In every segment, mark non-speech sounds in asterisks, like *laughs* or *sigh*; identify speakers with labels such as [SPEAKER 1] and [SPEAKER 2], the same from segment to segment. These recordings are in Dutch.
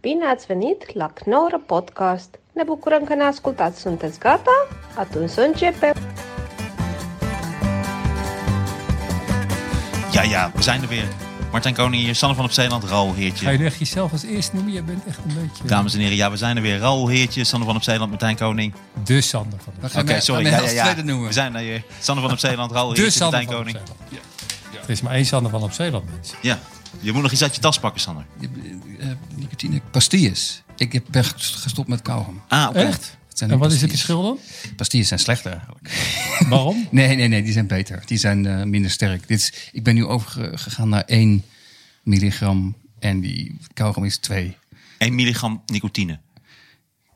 [SPEAKER 1] Bine ați venit la Knorr Podcast! Ne bucurăm că ne ascultați! Sunteți gata? Atunci să începem!
[SPEAKER 2] Ja, ja, we zijn er weer. Martijn Koning hier, Sanne van op Zeeland, Raoul Heertje.
[SPEAKER 3] Ga je nu echt jezelf als eerst noemen? Je bent echt een beetje
[SPEAKER 2] Dames en heren, ja, we zijn er weer. Raoul Heertje, Sanne van op Zeeland, Martijn Koning.
[SPEAKER 3] de Sander van de
[SPEAKER 4] Dan
[SPEAKER 2] Oké,
[SPEAKER 4] gaan we-
[SPEAKER 2] sorry.
[SPEAKER 4] gaan
[SPEAKER 2] Ja,
[SPEAKER 4] we
[SPEAKER 2] ja,
[SPEAKER 4] als
[SPEAKER 2] ja.
[SPEAKER 4] tweede noemen.
[SPEAKER 2] We zijn er weer. Sanne van op Zeeland, Raoul
[SPEAKER 3] De
[SPEAKER 2] Heertje,
[SPEAKER 3] Sander
[SPEAKER 2] Martijn
[SPEAKER 3] van op
[SPEAKER 2] Koning.
[SPEAKER 3] Zeeland. Er is maar één Sander van op Zeeland, mensen.
[SPEAKER 2] Ja, je moet nog iets uit je tas pakken, Sanne.
[SPEAKER 4] Eh, eh, Nicotine, pastilles. Ik heb- ben gestopt met kauwgom.
[SPEAKER 2] Ah, oké.
[SPEAKER 3] Echt?
[SPEAKER 4] Het zijn
[SPEAKER 3] En wat is het
[SPEAKER 4] pastilles.
[SPEAKER 3] verschil dan?
[SPEAKER 4] Pastilles zijn slechter eigenlijk. *laughs*
[SPEAKER 3] Waarom?
[SPEAKER 4] Nee, nee, nee, die zijn beter. Die zijn eh, minder sterk. Dit is, ik ben nu overgegaan naar 1 milligram en die kauwgom is 2.
[SPEAKER 2] 1 milligram nicotine.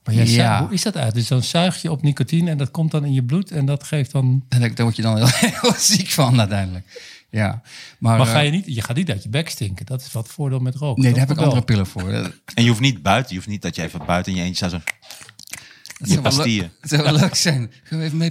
[SPEAKER 3] Maar jij
[SPEAKER 4] Ja.
[SPEAKER 3] zuigt- hoe is dat uit? Dus dan zuig je op nicotine en dat komt dan in je bloed en dat geeft dan...
[SPEAKER 4] En daar daar word je dan heel, *laughs* heel ziek van uiteindelijk. Ja. Maar,
[SPEAKER 3] Maar ga
[SPEAKER 4] eh,
[SPEAKER 3] je niet, je gaat niet uit je bek stinken. Dat is wat voordeel met roken.
[SPEAKER 4] Nee,
[SPEAKER 3] Dat
[SPEAKER 4] daar heb ik
[SPEAKER 3] wel.
[SPEAKER 4] andere pillen voor. Dat,
[SPEAKER 2] En je hoeft niet buiten, je hoeft niet dat je even buiten in je eentje staat. Zo.
[SPEAKER 4] dat
[SPEAKER 2] Je
[SPEAKER 4] zou wel leuk-
[SPEAKER 2] pastillen.
[SPEAKER 4] Dat zou wel leuk zijn. Kunnen we even mee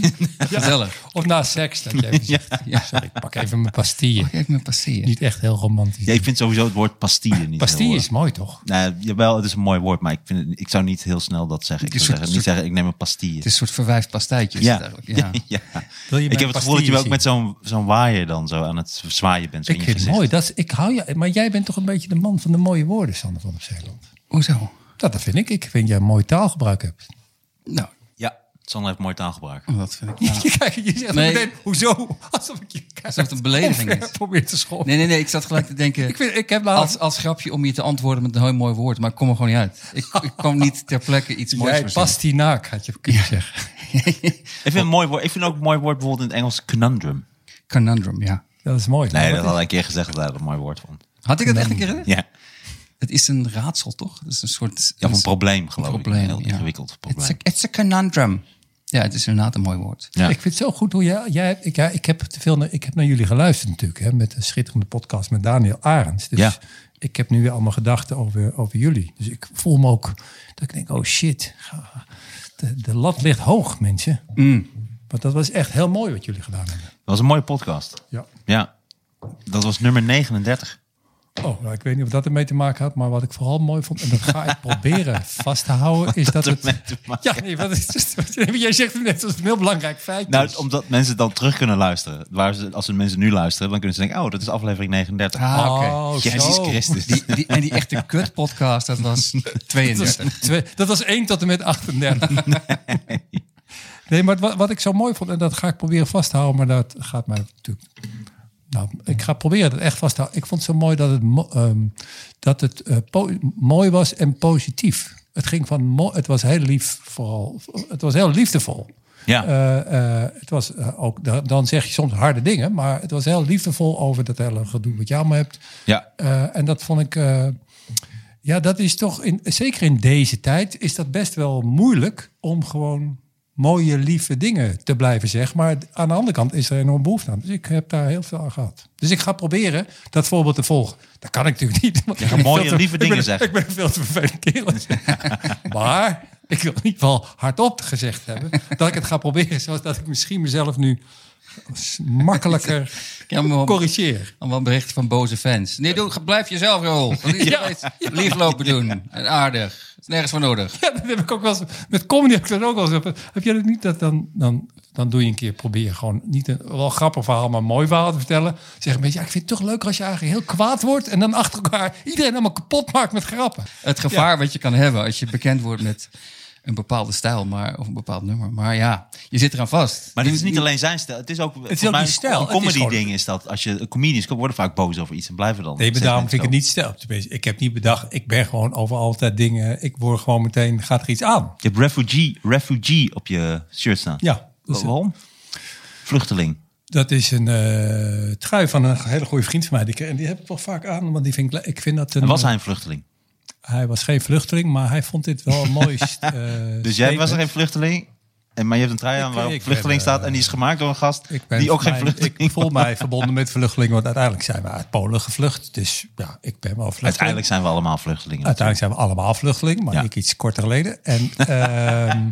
[SPEAKER 2] *laughs*
[SPEAKER 4] doen? Gezellig.
[SPEAKER 3] Of na seks, dat
[SPEAKER 4] *laughs*
[SPEAKER 3] je even zegt,
[SPEAKER 4] Ja.
[SPEAKER 3] sorry, ik pak even mijn pastillen.
[SPEAKER 4] Pak even mijn pastilles.
[SPEAKER 3] Niet echt heel romantisch.
[SPEAKER 2] Ja, ik vind sowieso het woord pastille niet
[SPEAKER 3] Pastille
[SPEAKER 2] heel,
[SPEAKER 3] is
[SPEAKER 2] eh,
[SPEAKER 3] mooi, toch?
[SPEAKER 2] Nou, jawel, het is een mooi woord, maar ik, vind het, ik zou niet heel snel dat zeggen. Ik
[SPEAKER 4] Het
[SPEAKER 2] zou
[SPEAKER 4] is
[SPEAKER 2] zeggen,
[SPEAKER 4] een
[SPEAKER 2] niet
[SPEAKER 4] soort-
[SPEAKER 2] zeggen, ik neem een pastille.
[SPEAKER 4] Het is een soort verwijfd pastijtje. is het
[SPEAKER 2] Ja,
[SPEAKER 4] eigenlijk.
[SPEAKER 2] ja. *laughs*
[SPEAKER 4] ja.
[SPEAKER 2] ja.
[SPEAKER 3] Wil je
[SPEAKER 2] Ik
[SPEAKER 3] mijn
[SPEAKER 2] heb het gevoel dat je
[SPEAKER 3] pastilles
[SPEAKER 2] wel ook met zo'n zo'n waaier dan zo aan het zwaaien bent. Zo
[SPEAKER 3] Ik
[SPEAKER 2] in je
[SPEAKER 3] vind het
[SPEAKER 2] gezicht.
[SPEAKER 3] mooi. Dat is, ik hou je, maar jij bent toch een beetje de man van de mooie woorden, Sander van op Zeeland.
[SPEAKER 4] Hoezo?
[SPEAKER 3] Dat, dat vind ik. Ik vind jij een mooi taalgebruik hebt. *laughs*
[SPEAKER 4] Nou,
[SPEAKER 2] Ja, Sander heeft mooi taalgebruik.
[SPEAKER 4] dat vind
[SPEAKER 3] *laughs*
[SPEAKER 4] ik. nou-
[SPEAKER 3] Je, kijkt, je zegt
[SPEAKER 4] Nee.
[SPEAKER 3] meteen, hoezo? *laughs* Alsof ik je *laughs*
[SPEAKER 4] Alsof het een belediging is.
[SPEAKER 3] probeer te schoppen.
[SPEAKER 4] Nee, nee, nee. Ik zat gelijk te denken.
[SPEAKER 3] Ik, vind, ik heb laatst...
[SPEAKER 4] als, als grapje om je te antwoorden met een heel mooi woord, maar ik kom er gewoon niet uit. Ik, ik kwam niet ter plekke iets moois
[SPEAKER 3] Jij
[SPEAKER 4] verzinnen.
[SPEAKER 3] pastinaak, had je kunnen zeggen. *laughs*
[SPEAKER 2] Ik vind, een mooi woord, ik vind ook een mooi woord bijvoorbeeld in het Engels conundrum.
[SPEAKER 4] *laughs* Conundrum, ja.
[SPEAKER 3] Dat is mooi.
[SPEAKER 2] Nee,
[SPEAKER 3] Maar
[SPEAKER 2] dat had ik een keer gezegd dat hij dat een mooi woord vond.
[SPEAKER 4] Had ik dat echt een keer? gezegd?
[SPEAKER 2] Ja,
[SPEAKER 4] Het is een raadsel, toch? Het is een soort
[SPEAKER 2] ja of een probleem geloof ik. Een
[SPEAKER 4] probleem.
[SPEAKER 2] heel
[SPEAKER 4] ja.
[SPEAKER 2] ingewikkeld
[SPEAKER 4] It's a,
[SPEAKER 2] probleem.
[SPEAKER 4] it's a conundrum. Ja, het is inderdaad een mooi woord.
[SPEAKER 2] Ja.
[SPEAKER 3] Ik vind het zo goed hoe jij... jij hebt- ik, ja, ik, heb te veel naar, ik heb naar jullie geluisterd natuurlijk. Hè, met een schitterende podcast met Daniel Arends. Dus
[SPEAKER 2] Ja.
[SPEAKER 3] ik heb nu weer allemaal gedachten over, over jullie. Dus ik voel me ook... Dat ik denk, oh shit. ga- De, de lat ligt hoog, mensen.
[SPEAKER 4] Mm.
[SPEAKER 3] Want dat was echt heel mooi wat jullie gedaan hebben.
[SPEAKER 2] Dat was een mooie podcast.
[SPEAKER 3] Ja.
[SPEAKER 2] Ja, dat was nummer 39.
[SPEAKER 3] Oh, nou, ik weet niet of dat ermee te maken had, maar wat ik vooral mooi vond, en dat ga ik proberen vast te houden, is dat het.
[SPEAKER 2] ermee te maken
[SPEAKER 3] Ja, nee, want het *laughs* is, jij zegt het net als een heel belangrijk feit.
[SPEAKER 2] Nou,
[SPEAKER 3] is.
[SPEAKER 2] omdat mensen dan terug kunnen luisteren. Waar ze, als ze mensen nu luisteren, dan kunnen ze denken... oh, dat is aflevering 39.
[SPEAKER 4] Ah, oké.
[SPEAKER 3] Oh,
[SPEAKER 2] Jezus
[SPEAKER 3] zo.
[SPEAKER 2] Christus.
[SPEAKER 4] Die, die, en die echte kut-podcast, dat
[SPEAKER 2] *laughs*
[SPEAKER 4] was *laughs*
[SPEAKER 3] Dat
[SPEAKER 4] 32.
[SPEAKER 3] was, twee- dat was 1 tot en met 38.
[SPEAKER 2] *laughs*
[SPEAKER 3] Nee, maar wat, wat ik zo mooi vond, en dat ga ik proberen vast te houden, maar dat gaat mij natuurlijk. Nou, ik ga proberen dat echt vast te houden. Ik vond het zo mooi dat het, mo- ehm, dat het eh, po- mooi was en positief. Het ging van mo- het was heel lief vooral. Het was heel liefdevol.
[SPEAKER 2] Ja.
[SPEAKER 3] Eh, eh, het was eh, ook, da- dan zeg je soms harde dingen, maar het was heel liefdevol over dat hele gedoe wat je allemaal hebt.
[SPEAKER 2] Ja,
[SPEAKER 3] Eh, en dat vond ik. eh, ja, dat is toch. In, zeker in deze tijd is dat best wel moeilijk om gewoon mooie, lieve dingen te blijven zeggen. Maar aan de andere kant is er enorm behoefte aan. Dus ik heb daar heel veel aan gehad. Dus ik ga proberen dat voorbeeld te volgen. Dat kan ik natuurlijk niet. want *laughs* ik ben
[SPEAKER 2] mooie,
[SPEAKER 3] veel te-
[SPEAKER 2] lieve
[SPEAKER 3] ik ben-
[SPEAKER 2] dingen zeggen.
[SPEAKER 3] Ik ben veel te vervelend kerel.
[SPEAKER 2] *laughs*
[SPEAKER 3] maar ik wil in ieder geval hardop gezegd hebben... dat ik het ga proberen, zoals dat ik misschien mezelf nu makkelijker
[SPEAKER 4] Ja, maar wel-
[SPEAKER 3] corrigeer.
[SPEAKER 4] Dan wel berichten van boze fans. Nee, doe, blijf jezelf, Rol.
[SPEAKER 3] Ja.
[SPEAKER 4] Ja. Lieflopen doen. En aardig. Het is nergens voor nodig.
[SPEAKER 3] Ja, dat heb ik ook wel eens. Met comedy heb ik dat ook wel eens. Heb jij dat niet? Dat dan, dan, dan doe je een keer proberen gewoon niet een wel grappig verhaal, maar een mooi verhaal te vertellen. Zeg een beetje, ja, ik vind het toch leuker als je eigenlijk heel kwaad wordt en dan achter elkaar iedereen allemaal kapot maakt met grappen.
[SPEAKER 4] Het gevaar wat je kan hebben als je bekend wordt met een bepaalde stijl maar, of een bepaald nummer. Maar ja, je zit eraan vast.
[SPEAKER 2] maar dit is niet alleen zijn stijl. Het is ook, volgens
[SPEAKER 3] ook
[SPEAKER 2] mij
[SPEAKER 3] die
[SPEAKER 2] een-
[SPEAKER 3] stijl.
[SPEAKER 2] Een
[SPEAKER 3] Het is
[SPEAKER 2] comedy
[SPEAKER 3] gewoon-
[SPEAKER 2] ding is dat. Als je comedians worden vaak boos over iets en blijven dan.
[SPEAKER 3] Nee, maar
[SPEAKER 2] zeggen
[SPEAKER 3] daarom vind ik het
[SPEAKER 2] zo.
[SPEAKER 3] niet stel. Tenminste, ik heb niet bedacht, ik ben gewoon over altijd dingen. Ik word gewoon meteen, gaat er iets aan?
[SPEAKER 2] Je hebt refugee, refugee op je shirt staan.
[SPEAKER 3] Ja. dus
[SPEAKER 2] Wa- Waarom? Vluchteling.
[SPEAKER 3] Dat is een eh, trui van een hele goede vriend van mij. Die, en die heb ik wel vaak aan, want die vind ik, le- ik vind dat een...
[SPEAKER 2] En was hij een vluchteling?
[SPEAKER 3] Hij was geen vluchteling, maar hij vond
[SPEAKER 2] *laughs*
[SPEAKER 3] dit wel een mooi. st- eh,
[SPEAKER 2] Dus jij was
[SPEAKER 3] statement.
[SPEAKER 2] er geen vluchteling, en, maar je hebt een trui aan
[SPEAKER 3] Ik-
[SPEAKER 2] waarop
[SPEAKER 3] ik
[SPEAKER 2] vluchteling
[SPEAKER 3] ben, eh,
[SPEAKER 2] staat. En die is gemaakt door een gast
[SPEAKER 3] Ik ben
[SPEAKER 2] die ook geen
[SPEAKER 3] mijn-
[SPEAKER 2] vluchteling
[SPEAKER 3] Ik voel
[SPEAKER 2] was.
[SPEAKER 3] mij verbonden met vluchtelingen, want uiteindelijk zijn we uit Polen gevlucht. Dus ja, ik ben wel vluchteling.
[SPEAKER 2] Uiteindelijk zijn we allemaal vluchtelingen.
[SPEAKER 3] Uiteindelijk zijn we allemaal vluchteling, maar
[SPEAKER 2] Ja.
[SPEAKER 3] ik iets korter geleden. En, *laughs* ehm,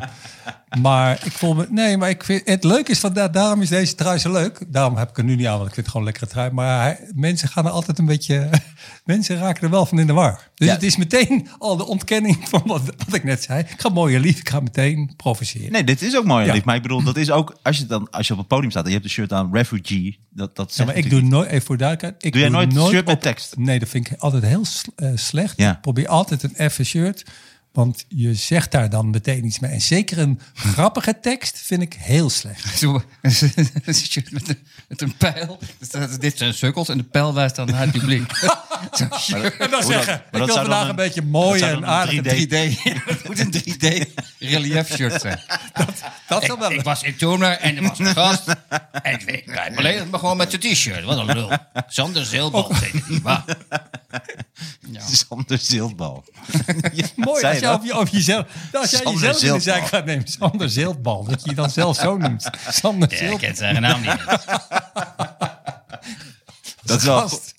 [SPEAKER 3] Maar ik voel me. Nee, maar ik vind, het leuk is dat daar- daarom is deze trui zo leuk. Daarom heb ik er nu niet aan, want ik vind het gewoon een lekkere trui. Maar hij- mensen gaan er altijd een beetje. *laughs* Mensen raken er wel van in de war. Dus
[SPEAKER 4] Ja.
[SPEAKER 3] het is meteen al de ontkenning *laughs* van wat, wat ik net zei. Ik ga mooie lief, ik ga meteen provoceren.
[SPEAKER 2] Nee, dit is ook mooi,
[SPEAKER 3] Ja.
[SPEAKER 2] lief. Maar ik bedoel, dat is ook... Als je, dan, als je op het podium staat en je hebt een shirt aan, refugee... Dat, dat
[SPEAKER 3] Ja,
[SPEAKER 2] zegt
[SPEAKER 3] maar ik doe
[SPEAKER 2] natuurlijk
[SPEAKER 3] nooit, even voor duidelijkheid. Ik
[SPEAKER 2] Doe jij nooit een shirt met
[SPEAKER 3] op-
[SPEAKER 2] tekst?
[SPEAKER 3] Nee, dat vind ik altijd heel s- eh, slecht.
[SPEAKER 2] Ja.
[SPEAKER 3] Ik probeer altijd een effen shirt. Want je zegt daar dan meteen iets mee. En zeker een grappige tekst vind ik heel
[SPEAKER 2] *laughs*
[SPEAKER 3] slecht.
[SPEAKER 4] *laughs* Zo, *laughs* dan zit je met een, met een pijl. Er staat, dit zijn sukkels en de pijl wijst dan naar het
[SPEAKER 2] *laughs*
[SPEAKER 4] publiek. *laughs* Zo,
[SPEAKER 3] En dan
[SPEAKER 2] Hoe dat-
[SPEAKER 3] zeggen,
[SPEAKER 2] maar dat
[SPEAKER 3] ik
[SPEAKER 2] zou dan
[SPEAKER 3] wil vandaag een,
[SPEAKER 2] een-
[SPEAKER 3] beetje
[SPEAKER 2] dat
[SPEAKER 3] mooi
[SPEAKER 2] zou dan
[SPEAKER 3] en
[SPEAKER 2] een
[SPEAKER 3] aardig.
[SPEAKER 2] 3D.
[SPEAKER 4] 3D. Het moet een 3D relief shirt zijn. Nou,
[SPEAKER 3] Dat zou
[SPEAKER 4] Ik,
[SPEAKER 2] *laughs*
[SPEAKER 3] wel
[SPEAKER 4] ik was in Toner en er was een gast. En ik rijd beledigd me gewoon met zijn t-shirt. Wat een lul. Sander Zeelbal.
[SPEAKER 2] Oh. Sander Zildbal. Ja,
[SPEAKER 3] *laughs* mooi
[SPEAKER 2] zei je
[SPEAKER 3] als, je
[SPEAKER 2] dat?
[SPEAKER 3] op je- op jezelf, als jij
[SPEAKER 2] Sander
[SPEAKER 3] jezelf in
[SPEAKER 2] Ziltbal.
[SPEAKER 3] de zijk gaat nemen. Sander Ziltbal. Dat je je dan zelf zo noemt. Sander
[SPEAKER 4] Ik
[SPEAKER 3] Ziltbal.
[SPEAKER 4] ken zijn naam niet.
[SPEAKER 2] *laughs* Dat is wel
[SPEAKER 3] Gast.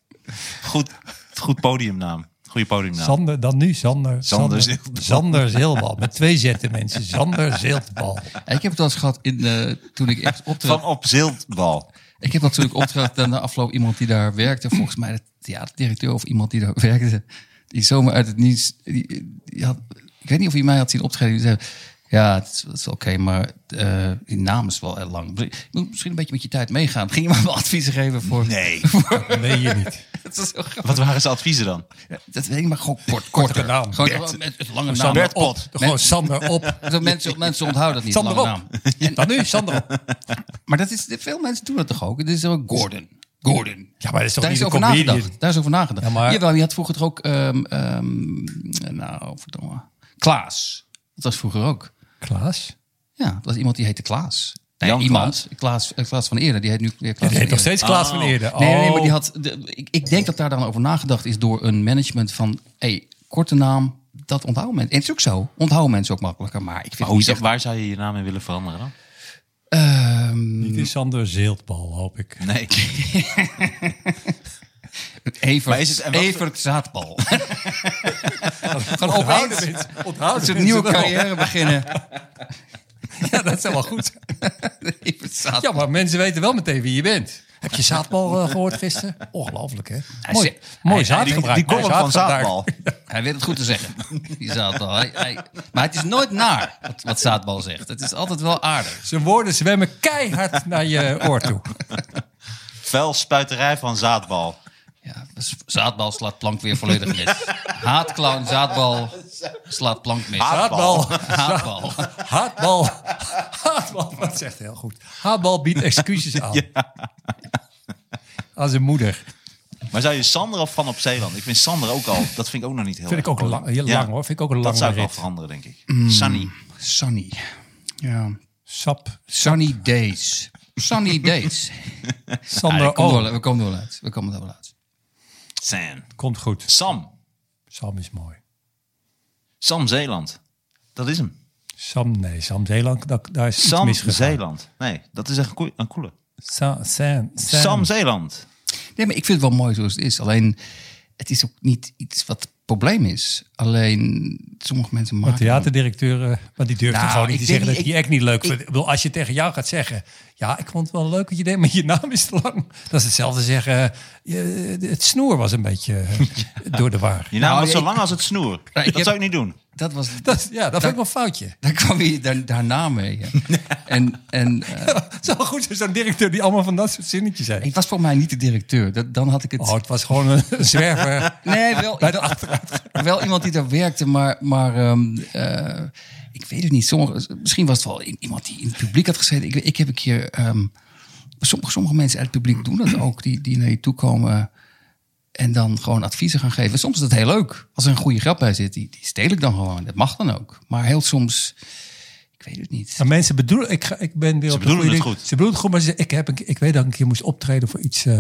[SPEAKER 2] goed, goed podiumnaam. Goede podiumnaam.
[SPEAKER 3] Sander, dan nu Sander.
[SPEAKER 2] Sander
[SPEAKER 3] Ziltbal.
[SPEAKER 2] Ziltbal.
[SPEAKER 3] Sander Ziltbal. Met twee zetten mensen. Sander Ziltbal.
[SPEAKER 4] Ik heb het al eens gehad in, eh, toen ik echt optrad.
[SPEAKER 2] Van op Zildbal.
[SPEAKER 4] Ik heb natuurlijk opdracht aan de afloop iemand die daar werkte. Volgens mij de theaterdirecteur of iemand die daar werkte. Die zomaar uit het niets... Die, die had, ik weet niet of hij mij had zien optreden. Die zei, ja, het is, het is oké, maar eh die naam is wel heel lang. Ik moet misschien een beetje met je tijd meegaan. Ging je maar wel adviezen geven *laughs* voor...
[SPEAKER 2] Nee.
[SPEAKER 3] Dat meen je niet.
[SPEAKER 4] Dat is zo grappig.
[SPEAKER 2] Wat waren zijn adviezen dan?
[SPEAKER 4] Dat weet ik maar gewoon kort, korter.
[SPEAKER 3] naam.
[SPEAKER 4] Gewoon
[SPEAKER 2] Bert.
[SPEAKER 4] gewoon met, met lange naam.
[SPEAKER 3] Sander
[SPEAKER 2] Bert
[SPEAKER 3] op.
[SPEAKER 2] Pot.
[SPEAKER 3] Gewoon Sander *laughs* op.
[SPEAKER 4] Zo, Mensen, mensen onthouden dat niet,
[SPEAKER 3] Sander
[SPEAKER 4] lange
[SPEAKER 3] op.
[SPEAKER 4] naam.
[SPEAKER 3] *laughs* Dan nu Sander op.
[SPEAKER 4] Maar dat is, veel mensen doen dat toch ook? Het is ook Gordon. Gordon.
[SPEAKER 3] Ja, maar dat is toch
[SPEAKER 4] Daar
[SPEAKER 3] niet
[SPEAKER 4] is
[SPEAKER 3] een
[SPEAKER 4] over
[SPEAKER 3] comedian?
[SPEAKER 4] nagedacht. Daar is over nagedacht.
[SPEAKER 3] Ja, maar-
[SPEAKER 4] Jawel, je had vroeger toch ook... ehm, ehm, nou, verdomme. Klaas. Dat was vroeger ook.
[SPEAKER 3] Klaas?
[SPEAKER 4] Ja, dat was iemand die heette Klaas. Nee,
[SPEAKER 2] Jan
[SPEAKER 4] iemand. Klaas, eh, Klaas van Eerder. Die heet nu weer Klaas
[SPEAKER 3] Ja, die
[SPEAKER 4] van
[SPEAKER 3] heet nog
[SPEAKER 4] Eerder.
[SPEAKER 3] steeds Klaas van Eerder.
[SPEAKER 4] Nee, nee, nee, maar die
[SPEAKER 3] Oh.
[SPEAKER 4] had... de- ik, ik denk dat daar dan over nagedacht is door een management van... hey, korte naam, dat onthouden mensen. En het is ook zo. Onthouden mensen ook makkelijker. Maar ik vind het
[SPEAKER 2] Hoe
[SPEAKER 4] niet
[SPEAKER 2] zou-
[SPEAKER 4] echt...
[SPEAKER 2] waar zou je je naam in willen veranderen dan?
[SPEAKER 4] ehm,
[SPEAKER 3] Dit is Sander Zeeltbal, hoop *laughs* ik.
[SPEAKER 2] *laughs* Nee. Maar is het-
[SPEAKER 4] Evert,
[SPEAKER 2] en wat-
[SPEAKER 3] *laughs*
[SPEAKER 4] Evert Zaadbal.
[SPEAKER 3] Gewoon
[SPEAKER 4] opeens.
[SPEAKER 3] onthouden mensen. Onthouden
[SPEAKER 4] Dat ze een
[SPEAKER 3] mensen
[SPEAKER 4] nieuwe
[SPEAKER 3] wel.
[SPEAKER 4] carrière beginnen.
[SPEAKER 3] *laughs* Ja, dat is wel goed.
[SPEAKER 4] *laughs* Evert Zaadbal.
[SPEAKER 3] Ja, maar mensen weten wel meteen wie je bent. Heb je zaadbal eh, gehoord gisteren? Ongelooflijk, hè? Mooi,
[SPEAKER 4] zei-
[SPEAKER 3] mooi
[SPEAKER 4] hij-
[SPEAKER 3] zaadgebruik.
[SPEAKER 2] Die, die
[SPEAKER 3] mooi
[SPEAKER 2] column van
[SPEAKER 3] zaadgebruik.
[SPEAKER 2] Zaadbal.
[SPEAKER 3] *laughs*
[SPEAKER 4] Hij weet het goed te zeggen, *laughs* die zaadbal. Hij, hij- maar het is nooit naar wat, wat zaadbal zegt. Het is altijd wel aardig.
[SPEAKER 3] Zijn woorden zwemmen keihard naar je oor toe.
[SPEAKER 2] Vuilspuiterij van Zaadbal.
[SPEAKER 4] Ja, dus zaadbal slaat plank weer volledig mis. Haatclown, zaadbal slaat plank mis.
[SPEAKER 3] Zaadbal.
[SPEAKER 4] Haatbal.
[SPEAKER 3] Haatbal. *laughs* Haatbal, dat zegt heel goed. Haatbal biedt excuses aan. Als een moeder.
[SPEAKER 2] Maar zou je Sander of Van op Zeeland? Ik vind Sander ook al, dat vind ik ook nog niet heel
[SPEAKER 3] Vind ik
[SPEAKER 2] erg
[SPEAKER 3] ook
[SPEAKER 2] mooi.
[SPEAKER 3] lang, heel
[SPEAKER 2] Ja,
[SPEAKER 3] lang hoor. Vind ik ook een
[SPEAKER 2] Dat
[SPEAKER 3] lange
[SPEAKER 2] zou ik wel
[SPEAKER 3] rit. Mm.
[SPEAKER 2] veranderen, denk ik. Sunny.
[SPEAKER 4] Sunny. Ja.
[SPEAKER 3] Sap.
[SPEAKER 4] Sunny days. Sunny *laughs* days.
[SPEAKER 3] Sander oh,
[SPEAKER 4] we,
[SPEAKER 3] O.
[SPEAKER 4] komen er wel, we komen er wel uit. We komen er wel uit.
[SPEAKER 2] Sam.
[SPEAKER 3] Komt goed.
[SPEAKER 2] Sam.
[SPEAKER 3] Sam is mooi.
[SPEAKER 2] Sam Zeeland. Dat is hem.
[SPEAKER 3] Sam, nee, Sam Zeeland, daar, daar is
[SPEAKER 2] Sam
[SPEAKER 3] iets misgegaan.
[SPEAKER 2] Zeeland. Nee, dat is echt een koe- een coole.
[SPEAKER 3] Sam, Sam, Sam.
[SPEAKER 2] Sam Zeeland.
[SPEAKER 4] Nee, maar ik vind het wel mooi zoals het is. Alleen, het is ook niet iets wat het probleem is. Alleen, sommige mensen
[SPEAKER 3] Maar
[SPEAKER 4] maken...
[SPEAKER 3] theaterdirecteuren, maar die durfden
[SPEAKER 4] Nou,
[SPEAKER 3] gewoon niet
[SPEAKER 4] ik
[SPEAKER 3] te
[SPEAKER 4] denk
[SPEAKER 3] zeggen dat
[SPEAKER 4] niet-
[SPEAKER 3] je die act niet leuk vindt. Ik bedoel, als je tegen jou gaat zeggen, ja, ik vond het wel leuk wat je deed, maar je naam is te lang. Dat is hetzelfde zeggen, eh, je- het snoer was een beetje eh, door de war.
[SPEAKER 2] Je naam
[SPEAKER 4] Nou,
[SPEAKER 2] was zo
[SPEAKER 4] ik-
[SPEAKER 2] lang als het snoer. dat
[SPEAKER 4] heb-
[SPEAKER 2] zou ik niet doen.
[SPEAKER 4] Dat was,
[SPEAKER 3] Dat, is- ja, dat vind ik wel een foutje.
[SPEAKER 4] Daar kwam je daar, daarna mee. ja. En, en
[SPEAKER 3] *laughs*
[SPEAKER 4] eh,
[SPEAKER 3] Het is wel goed zo'n directeur die allemaal van dat soort zinnetjes heeft.
[SPEAKER 4] ik was voor mij niet de directeur. Dat, dan had ik het.
[SPEAKER 3] Oh, het was gewoon een *laughs* zwerver
[SPEAKER 4] nee, wel,
[SPEAKER 3] bij de achteruit.
[SPEAKER 4] wel iemand die daar werkte, maar, maar ehm, eh, ik weet het niet. Sommige, misschien was het wel i- iemand die in het publiek had gezeten. Ik, ik heb een keer. ehm, sommige, sommige mensen uit het publiek doen dat ook, die, die naar je toe komen. En dan gewoon adviezen gaan geven. Soms is dat heel leuk. Als er een goede grap bij zit, die, die steel ik dan gewoon. Dat mag dan ook. Maar heel soms, ik weet het niet.
[SPEAKER 3] Maar mensen bedoelen, ik, ga, ik ben weer op de
[SPEAKER 2] bedoelen
[SPEAKER 3] goede
[SPEAKER 2] het
[SPEAKER 3] ding.
[SPEAKER 2] goed.
[SPEAKER 3] Ze bedoelen het goed, maar ze, ik, heb een, ik weet dat ik een keer moest optreden voor iets. eh,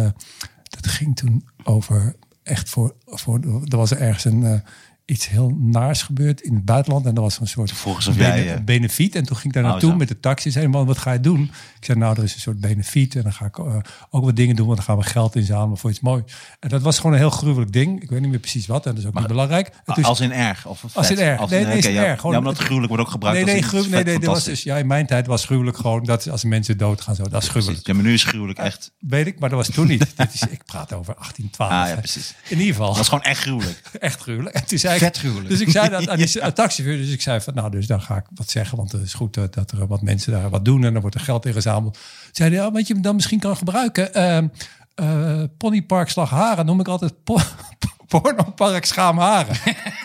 [SPEAKER 3] dat ging toen over echt voor, voor. Er was ergens een, eh, iets heel naars gebeurd in het buitenland. En dat was een soort
[SPEAKER 2] Volgens of jij, eh,
[SPEAKER 3] benefiet. En toen ging ik daar
[SPEAKER 2] Oh,
[SPEAKER 3] naartoe
[SPEAKER 2] zo.
[SPEAKER 3] met de taxi. Zei, man, wat ga je doen? Ik zei, nou, er is een soort benefiet. En dan ga ik eh, ook wat dingen doen. Want dan gaan we geld inzamelen voor iets moois. En dat was gewoon een heel gruwelijk ding. Ik weet niet meer precies wat. En dat is ook niet belangrijk. En toen-
[SPEAKER 2] als in erg? Of vet?
[SPEAKER 3] als in erg. nee, nee,
[SPEAKER 2] oké,
[SPEAKER 3] is
[SPEAKER 2] ja.
[SPEAKER 3] erg. Gewoon-
[SPEAKER 2] ja, omdat gruwelijk wordt ook gebruikt
[SPEAKER 3] Nee, nee,
[SPEAKER 2] als iets
[SPEAKER 3] gruwelijk.
[SPEAKER 2] vet
[SPEAKER 3] Nee, nee, dit was
[SPEAKER 2] fantastisch.
[SPEAKER 3] dus, ja, in mijn tijd was gruwelijk gewoon dat als mensen doodgaan, zo, dat is gruwelijk.
[SPEAKER 2] Precies. Ja, maar nu is gruwelijk echt...
[SPEAKER 3] Weet ik, maar dat was toen
[SPEAKER 2] *laughs*
[SPEAKER 3] niet. Dit is, ik praat over 1812.
[SPEAKER 2] Ah, ja,
[SPEAKER 3] hè.
[SPEAKER 2] precies.
[SPEAKER 3] In ieder geval,
[SPEAKER 2] Dat is gewoon echt *laughs* gruwelijk.
[SPEAKER 3] *laughs* echt gruwelijk. En toen zei ik-
[SPEAKER 4] Vet gruwelijk.
[SPEAKER 3] Dus ik zei dat
[SPEAKER 4] *laughs*
[SPEAKER 3] aan die aan de taxichauffeur. Dus ik zei van, nou, dus dan ga ik wat zeggen. Want het is goed eh, dat er wat mensen daar wat doen. En dan wordt er geld ingezameld. Zei hij, ja, wat je hem dan misschien kan gebruiken. ehm eh Ponypark Slagharen noem ik altijd po *laughs* Pornopark Schaamharen. *laughs*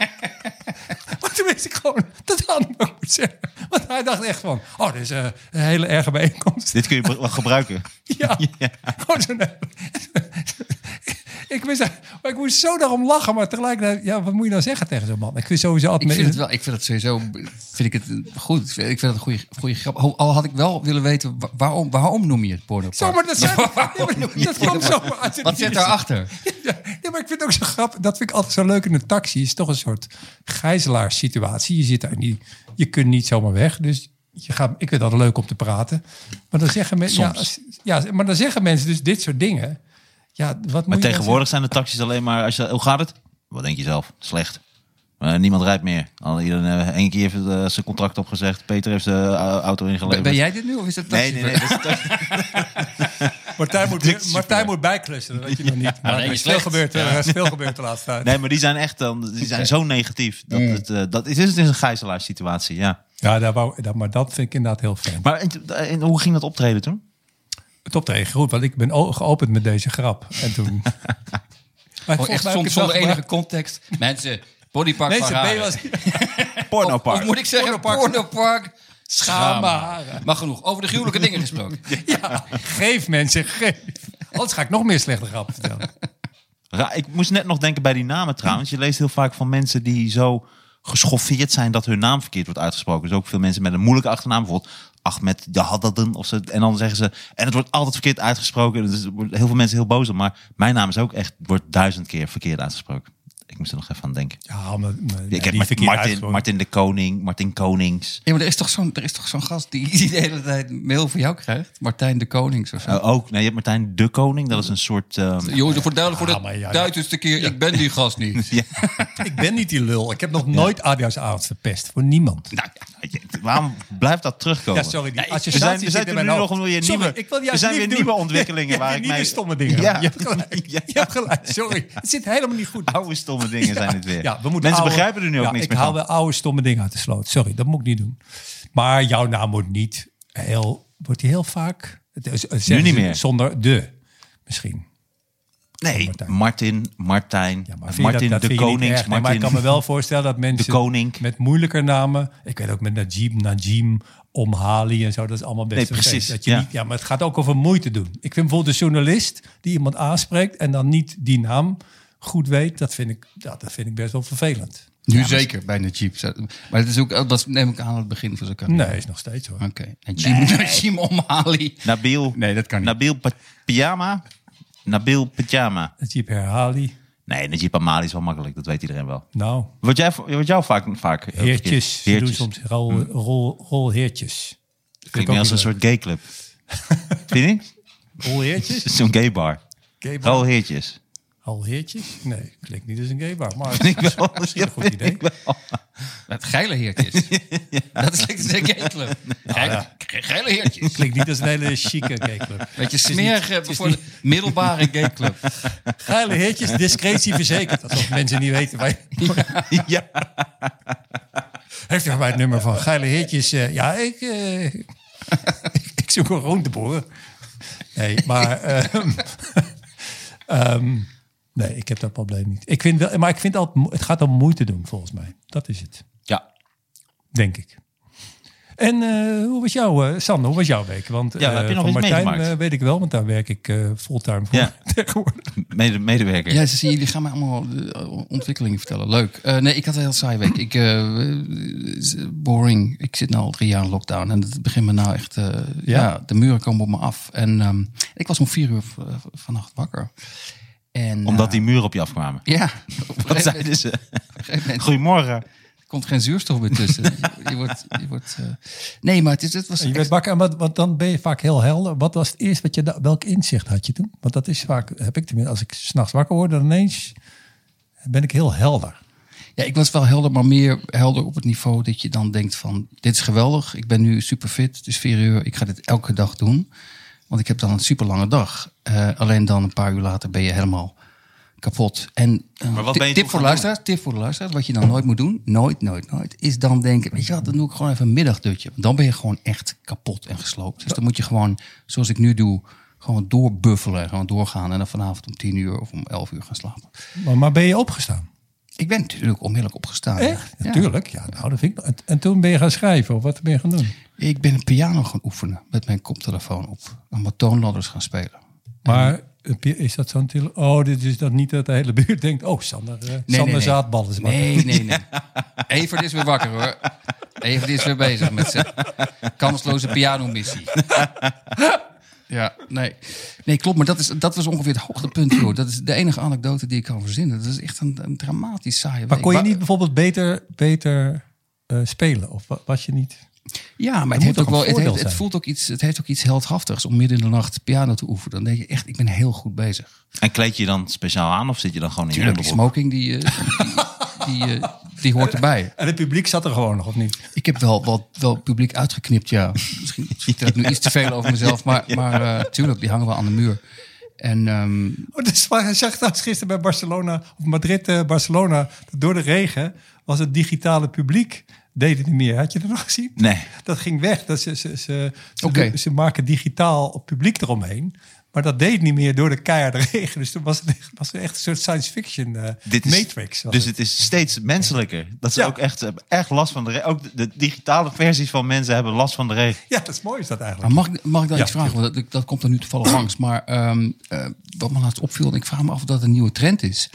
[SPEAKER 3] Maar toen wist ik gewoon, dat had ik ook moeten zeggen. Want hij dacht echt van, oh, dit is eh, een hele erge bijeenkomst.
[SPEAKER 2] Dus Dit kun je wel gebruiken.
[SPEAKER 3] *laughs* Ja. Gewoon zo'n- ik, wist, maar ik moest zo daarom lachen, maar tegelijkertijd, ja, wat moet je nou zeggen tegen zo'n man? Ik wist sowieso altijd.
[SPEAKER 4] Ik vind het wel, ik vind het sowieso, vind ik het goed. Ik vind het een goede, goede grap. Ho- Al had ik wel willen weten, wa- waarom, waarom noem je het porno?
[SPEAKER 3] Zo, maar dat, zijn, dat komt zo uit het
[SPEAKER 4] Wat zit
[SPEAKER 3] niets.
[SPEAKER 4] daarachter?
[SPEAKER 3] Ja, nee, maar ik vind het ook zo grappig. Dat vind ik altijd zo leuk in een taxi. is toch een soort gijzelaarssituatie. Je zit daar niet, je kunt niet zomaar weg. Dus je gaat, ik vind dat leuk om te praten. Maar dan zeggen mensen, ja,
[SPEAKER 2] Soms.
[SPEAKER 3] ja, maar dan zeggen mensen dus dit soort dingen. Ja, wat moet je
[SPEAKER 2] Maar
[SPEAKER 3] dan
[SPEAKER 2] tegenwoordig zijn de taxis alleen maar... Als je, hoe gaat het? Wat denk je zelf? Slecht. Eh, niemand rijdt meer. Al iedereen, eh, één keer heeft eh, zijn contract opgezegd. Peter heeft zijn eh, auto
[SPEAKER 4] Ben,
[SPEAKER 2] ingeleverd.
[SPEAKER 4] ben jij dit nu of is dat
[SPEAKER 2] Nee, nee, nee. dat is toch-
[SPEAKER 3] Martijn
[SPEAKER 2] Dit
[SPEAKER 3] moet,
[SPEAKER 2] is
[SPEAKER 3] Martijn moet bijklussen, dat weet je nog niet. Maar
[SPEAKER 4] nee,
[SPEAKER 3] er is
[SPEAKER 4] je
[SPEAKER 3] veel
[SPEAKER 4] slecht.
[SPEAKER 3] gebeurd, hè. er is veel gebeurd de laatste
[SPEAKER 2] *laughs*
[SPEAKER 3] tijd.
[SPEAKER 2] nee, maar die zijn echt dan, die zijn zo negatief. Dat, het, eh, dat is, is het een gijzelaarssituatie, ja.
[SPEAKER 3] Ja, daar wou, dat, maar dat vind ik inderdaad heel fijn.
[SPEAKER 2] Maar en, en hoe ging dat optreden toen?
[SPEAKER 3] Het optreden, goed, want ik ben o- geopend met deze grap. En
[SPEAKER 4] *laughs*
[SPEAKER 3] toen... Maar
[SPEAKER 4] Gewoon
[SPEAKER 3] volgens
[SPEAKER 4] Oh, echt
[SPEAKER 3] mij heb ik
[SPEAKER 4] soms
[SPEAKER 3] het
[SPEAKER 4] zonder
[SPEAKER 3] wel
[SPEAKER 4] enige
[SPEAKER 3] gemaakt.
[SPEAKER 4] context. Mensen, bodypark
[SPEAKER 3] Nee,
[SPEAKER 4] van
[SPEAKER 3] ze
[SPEAKER 4] Haren.
[SPEAKER 3] B was...
[SPEAKER 4] Of, of moet ik zeggen,
[SPEAKER 3] Pornopark.
[SPEAKER 4] pornopark
[SPEAKER 3] Schaam
[SPEAKER 4] schamen.
[SPEAKER 3] haren.
[SPEAKER 4] Maar genoeg, over de gruwelijke
[SPEAKER 2] *laughs*
[SPEAKER 4] dingen gesproken.
[SPEAKER 3] Ja, geef mensen, geef. Anders ga ik nog meer slechte grappen vertellen.
[SPEAKER 2] Ra- ik moest net nog denken bij die namen trouwens. Je leest heel vaak van mensen die zo geschoffeerd zijn dat hun naam verkeerd wordt uitgesproken. Dus ook veel mensen met een moeilijke achternaam, bijvoorbeeld Ahmed Jahadaden of zo. En dan zeggen ze, en het wordt altijd verkeerd uitgesproken. Dus er worden heel veel mensen heel boos om. Maar mijn naam is ook echt, wordt duizend keer verkeerd uitgesproken. Ik moest er nog even aan denken.
[SPEAKER 3] Ja, maar... maar
[SPEAKER 2] ik heb Martin, Martin, Martin de Koning, Martin Konings.
[SPEAKER 4] Ja, maar er is toch zo'n, er is toch zo'n gast die, *laughs* die de hele tijd mail voor jou krijgt? Martijn de Konings of zo.
[SPEAKER 2] Eh, ook, nee, je hebt Martijn de Koning. Dat is een soort... ehm,
[SPEAKER 4] Jongens, voor
[SPEAKER 3] Ja,
[SPEAKER 4] duidelijk voor de
[SPEAKER 3] Ah, maar ja, ja.
[SPEAKER 4] duizendste keer, ik ben die
[SPEAKER 2] *laughs*
[SPEAKER 4] gast niet.
[SPEAKER 2] ja,
[SPEAKER 3] Ik ben niet die lul. Ik heb nog nooit Adiasavond verpest. Voor niemand.
[SPEAKER 2] nou, ja, waarom blijft dat terugkomen?
[SPEAKER 3] Ja, sorry, die
[SPEAKER 2] Ja, we
[SPEAKER 3] associatie
[SPEAKER 2] zijn,
[SPEAKER 3] zit
[SPEAKER 2] we zijn
[SPEAKER 3] in
[SPEAKER 2] toen nu
[SPEAKER 3] mijn hoofd.
[SPEAKER 2] nog weer
[SPEAKER 3] Sorry,
[SPEAKER 2] nieuwe,
[SPEAKER 3] ik wil
[SPEAKER 2] er
[SPEAKER 3] juist
[SPEAKER 2] zijn weer
[SPEAKER 3] lief doen.
[SPEAKER 2] nieuwe ontwikkelingen
[SPEAKER 3] *laughs* Ja,
[SPEAKER 2] waar ik
[SPEAKER 3] nieuwe
[SPEAKER 2] mee...
[SPEAKER 3] stomme dingen.
[SPEAKER 2] Ja.
[SPEAKER 3] Je hebt gelijk.
[SPEAKER 2] Ja.
[SPEAKER 3] Je hebt gelijk. Sorry, het zit helemaal niet
[SPEAKER 2] *laughs*
[SPEAKER 3] goed.
[SPEAKER 2] Oude stomme dingen zijn het weer.
[SPEAKER 3] Ja, we moeten
[SPEAKER 2] Mensen
[SPEAKER 3] oude-
[SPEAKER 2] begrijpen er nu ook
[SPEAKER 3] ja,
[SPEAKER 2] niks
[SPEAKER 3] ik
[SPEAKER 2] meer
[SPEAKER 3] haal
[SPEAKER 2] van.
[SPEAKER 3] wel oude stomme dingen uit de sloot. Sorry, dat moet ik niet doen. Maar jouw naam wordt niet heel... Wordt die heel vaak... het is- zeggen
[SPEAKER 2] Nu niet
[SPEAKER 3] ze
[SPEAKER 2] meer.
[SPEAKER 3] Zonder de, misschien.
[SPEAKER 2] Nee,
[SPEAKER 3] Martijn.
[SPEAKER 2] Martin, Martijn,
[SPEAKER 3] Ja, maar vind je
[SPEAKER 2] Martin
[SPEAKER 3] dat- dat
[SPEAKER 2] de
[SPEAKER 3] vind je niet
[SPEAKER 2] Konings,
[SPEAKER 3] erg? Nee, maar ik
[SPEAKER 2] Martin...
[SPEAKER 3] kan me wel voorstellen dat mensen
[SPEAKER 2] Koning.
[SPEAKER 3] met moeilijker namen... Ik weet ook met Najib, Najim, Omhali en zo. Dat is allemaal best
[SPEAKER 2] Nee,
[SPEAKER 3] een feest.
[SPEAKER 2] precies,
[SPEAKER 3] Dat je
[SPEAKER 2] ja.
[SPEAKER 3] Niet, ja, maar het gaat ook over moeite doen. Ik vind bijvoorbeeld een journalist die iemand aanspreekt... en dan niet die naam goed weet. Dat vind ik, ja, dat vind ik best wel vervelend.
[SPEAKER 4] Nu zeker, bij Najib. Zou- Maar het is ook, dat was- neem ik aan aan het begin van zijn carrière.
[SPEAKER 3] Nee, is nog steeds hoor.
[SPEAKER 4] Oké. Najib, *laughs* Najib Omhali.
[SPEAKER 2] Nabil,
[SPEAKER 4] Nee, dat kan niet.
[SPEAKER 2] Nabil Pa- Pyjama, Nabil Pyjama.
[SPEAKER 3] Najib Herhali.
[SPEAKER 2] Nee, Najib Amali is wel makkelijk, dat weet iedereen wel.
[SPEAKER 3] Nou,
[SPEAKER 2] Wordt jij, wordt jou vaak... vaak heel
[SPEAKER 3] heertjes.
[SPEAKER 2] verkeerd?
[SPEAKER 3] Ze doen
[SPEAKER 2] Heertjes. Hm.
[SPEAKER 3] soms rol, rol, rolheertjes.
[SPEAKER 2] Klinkt meer als een soort gayclub.
[SPEAKER 3] *laughs*
[SPEAKER 2] Vind je niet? *laughs*
[SPEAKER 3] Rolheertjes?
[SPEAKER 2] Het is zo'n gaybar.
[SPEAKER 3] Gaybar?
[SPEAKER 2] Oh, heertjes.
[SPEAKER 3] *laughs* Rolheertjes? Nee, klinkt niet als een gaybar. Maar
[SPEAKER 2] Vind ik wel.
[SPEAKER 3] *laughs* misschien een goed
[SPEAKER 2] Vind
[SPEAKER 3] idee.
[SPEAKER 2] ik wel.
[SPEAKER 4] Het geile *laughs* heertjes. Dat is lekker de gay *laughs* club. Geile, geile heertjes.
[SPEAKER 3] Klinkt niet als een hele chique
[SPEAKER 2] *laughs*
[SPEAKER 3] gayclub.
[SPEAKER 4] Beetje smerige, voor de *laughs* middelbare gay club.
[SPEAKER 3] Geile heertjes, discretie verzekerd. Alsof mensen niet weten waar
[SPEAKER 2] *laughs*
[SPEAKER 3] je...
[SPEAKER 2] Ja.
[SPEAKER 3] Heeft u mij het nummer van geile heertjes? eh, ja, ik, eh, *laughs* ik zoek een rondeboer. Nee, maar... ehm, *laughs* ehm, nee, ik heb dat probleem niet. Ik vind wel, maar ik vind altijd, mo- het gaat om moeite doen, volgens mij. Dat is het.
[SPEAKER 2] Ja.
[SPEAKER 3] Denk ik. En eh, hoe was jouw, eh Sander, hoe was jouw week? Want
[SPEAKER 2] Ja,
[SPEAKER 3] eh,
[SPEAKER 2] heb je nog
[SPEAKER 3] van
[SPEAKER 2] iets
[SPEAKER 3] Martijn
[SPEAKER 2] meegemaakt?
[SPEAKER 3] eh, weet ik wel, want daar werk ik eh, fulltime voor
[SPEAKER 2] Ja.
[SPEAKER 3] *laughs* tegenwoordig.
[SPEAKER 2] Mede- medewerker.
[SPEAKER 4] Ja, ze zien, jullie gaan mij allemaal eh, ontwikkelingen vertellen. Leuk. Eh, nee, ik had een heel saai week. Ik, eh, boring. Ik zit nu al drie jaar in lockdown. En het begint me nou echt... eh, ja. de muren komen op me af. En ehm, ik was om vier uur v- vannacht wakker. En,
[SPEAKER 2] Omdat die muren op je afkwamen. eh,
[SPEAKER 4] eh, ja, op een
[SPEAKER 2] Dat
[SPEAKER 4] gegeven
[SPEAKER 2] zeiden
[SPEAKER 4] moment-
[SPEAKER 2] ze.
[SPEAKER 4] op een gegeven moment
[SPEAKER 2] Goedemorgen.
[SPEAKER 4] komt geen zuurstof meer
[SPEAKER 2] *laughs*
[SPEAKER 4] tussen. je wordt, je wordt, eh, nee, maar het, is, het was...
[SPEAKER 3] Je bent wakker, want, want dan ben je vaak heel helder. Wat was het eerst wat je... da- Welk inzicht had je toen? Want dat is vaak, heb ik tenminste, als ik s'nachts wakker word, dan ineens ben ik heel helder.
[SPEAKER 4] Ja, ik was wel helder, maar meer helder op het niveau dat je dan denkt van... dit is geweldig, ik ben nu super fit, het is 4 uur, ik ga dit elke dag doen. Want ik heb dan een super lange dag. Eh, alleen dan een paar uur later ben je helemaal kapot. En eh,
[SPEAKER 2] Maar wat
[SPEAKER 4] ti-
[SPEAKER 2] ben je
[SPEAKER 4] tip
[SPEAKER 2] toen
[SPEAKER 4] voor
[SPEAKER 2] gaan
[SPEAKER 4] luisteraars, tip voor de luisteraars, wat je dan nooit moet doen, nooit, nooit, nooit, is dan denken, weet je wat, dan doe ik gewoon even een middagdutje. Want dan ben je gewoon echt kapot en gesloopt. Dus dan moet je gewoon, zoals ik nu doe, gewoon doorbuffelen, gewoon doorgaan en dan vanavond om 10 uur of om 11 uur gaan slapen.
[SPEAKER 3] Maar, maar ben je opgestaan?
[SPEAKER 4] Ik ben natuurlijk onmiddellijk opgestaan. ja.
[SPEAKER 3] Echt?
[SPEAKER 4] Ja.
[SPEAKER 3] Natuurlijk. Ja, nou, dat vind ik... en, en toen ben je gaan schrijven of wat ben je gaan doen?
[SPEAKER 4] Ik ben een piano gaan oefenen met mijn koptelefoon op. En wat toonladders gaan spelen.
[SPEAKER 3] Maar eh, Pier, is dat zo'n tele- Oh, dit is dat niet dat de hele *laughs* buurt denkt... Oh, Sander, eh Sander
[SPEAKER 4] nee, nee.
[SPEAKER 3] Zaadbal is wakker. *laughs*
[SPEAKER 4] Nee, nee, nee. *laughs* Evert is weer wakker hoor. Evert is weer bezig met zijn kansloze pianomissie. *laughs* Ja, nee. Nee, klopt. Maar dat, is, dat was ongeveer het hoogtepunt. Joh. Dat is de enige anekdote die ik kan verzinnen. Dat is echt een, een dramatisch saaie
[SPEAKER 3] Maar
[SPEAKER 4] week.
[SPEAKER 3] kon je
[SPEAKER 4] Wa-
[SPEAKER 3] niet bijvoorbeeld beter, beter eh, spelen? Of wa- was je niet...
[SPEAKER 4] Ja, maar
[SPEAKER 3] moet
[SPEAKER 4] het, heeft
[SPEAKER 3] toch
[SPEAKER 4] ook wel,
[SPEAKER 3] een
[SPEAKER 4] het,
[SPEAKER 3] voordeel
[SPEAKER 4] heeft- het
[SPEAKER 3] zijn?
[SPEAKER 4] voelt ook iets, het heeft ook iets heldhaftigs om midden in de nacht piano te oefenen. Dan denk je echt, ik ben heel goed bezig.
[SPEAKER 2] En kleed je dan speciaal aan of zit je dan gewoon in je
[SPEAKER 4] Tuurlijk, die
[SPEAKER 2] onderbroek?
[SPEAKER 4] smoking die, eh, die, die, eh, die hoort erbij.
[SPEAKER 3] En het publiek zat er gewoon nog, of niet?
[SPEAKER 4] Ik heb wel, wel, wel publiek uitgeknipt, ja. Misschien vertel ik nu iets te veel over *laughs* mezelf, maar, maar eh, tuurlijk, die hangen wel aan de muur. En ehm,
[SPEAKER 3] Oh, dus, maar hij zag trouwens gisteren bij Barcelona, of Madrid, eh, Barcelona, dat door de regen was het digitale publiek, deed het niet meer. Had je dat nog gezien?
[SPEAKER 2] Nee.
[SPEAKER 3] Dat ging weg. Dat ze, ze, ze, ze,
[SPEAKER 4] Oké.
[SPEAKER 3] doen- ze maken digitaal het publiek eromheen. Maar dat deed niet meer door de keiharde *laughs* regen. Dus toen was het echt, was het echt een soort science fiction eh,
[SPEAKER 2] Dit is,
[SPEAKER 3] matrix. was
[SPEAKER 2] Dus
[SPEAKER 3] het.
[SPEAKER 2] het is steeds menselijker. Dat ze
[SPEAKER 3] Ja.
[SPEAKER 2] ook echt, eh, echt last van de regen. Ook de, de digitale versies van mensen hebben last van de regen.
[SPEAKER 3] Ja, dat is mooi is dat
[SPEAKER 4] maar
[SPEAKER 3] eigenlijk.
[SPEAKER 4] mag, ik- mag ik dan
[SPEAKER 3] Ja,
[SPEAKER 4] iets vragen? Want dat, dat komt er nu toevallig *clears throat* langs. Maar ehm, eh, wat me laatst opviel, en ik vraag me af of dat een nieuwe trend is...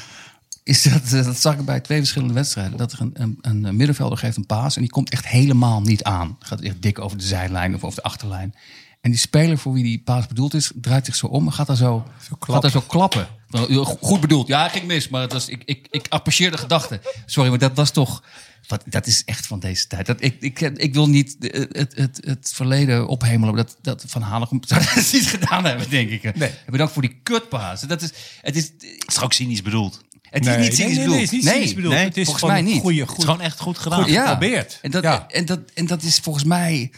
[SPEAKER 4] is dat, eh, dat zag ik bij twee verschillende wedstrijden... dat er een, een, een middenvelder geeft een paas en die komt echt helemaal niet aan. Gaat echt dik over de zijlijn of over de achterlijn. En die speler voor wie die paas bedoeld is, draait zich zo om en gaat daar zo, gaat daar zo klappen. Wel, eh, Goed bedoeld. Ja, hij ging mis, maar het was, ik, ik, ik apprecieer de gedachte. Sorry, maar dat was toch... Wat, dat is echt van deze tijd. Dat, ik, ik, ik wil niet eh, het, het, het verleden ophemelen. maar Dat, dat Van Hanegem *laughs* zou dat niet gedaan hebben, denk ik.
[SPEAKER 3] Nee.
[SPEAKER 4] Bedankt voor die kutpaas. Dat is, het is,
[SPEAKER 2] Het is ook cynisch bedoeld.
[SPEAKER 4] het is niet
[SPEAKER 3] nee,
[SPEAKER 4] cynisch
[SPEAKER 3] nee,
[SPEAKER 4] bedoeld.
[SPEAKER 3] het is niet cynisch bedoeld.
[SPEAKER 2] nee,
[SPEAKER 3] het is
[SPEAKER 4] volgens
[SPEAKER 3] gewoon
[SPEAKER 4] mij niet.
[SPEAKER 3] een goede,
[SPEAKER 2] Het
[SPEAKER 3] goede
[SPEAKER 2] is gewoon echt goed gedaan.
[SPEAKER 3] Goed. geprobeerd.
[SPEAKER 4] En dat,
[SPEAKER 3] Ja.
[SPEAKER 4] en, dat, en dat is volgens mij...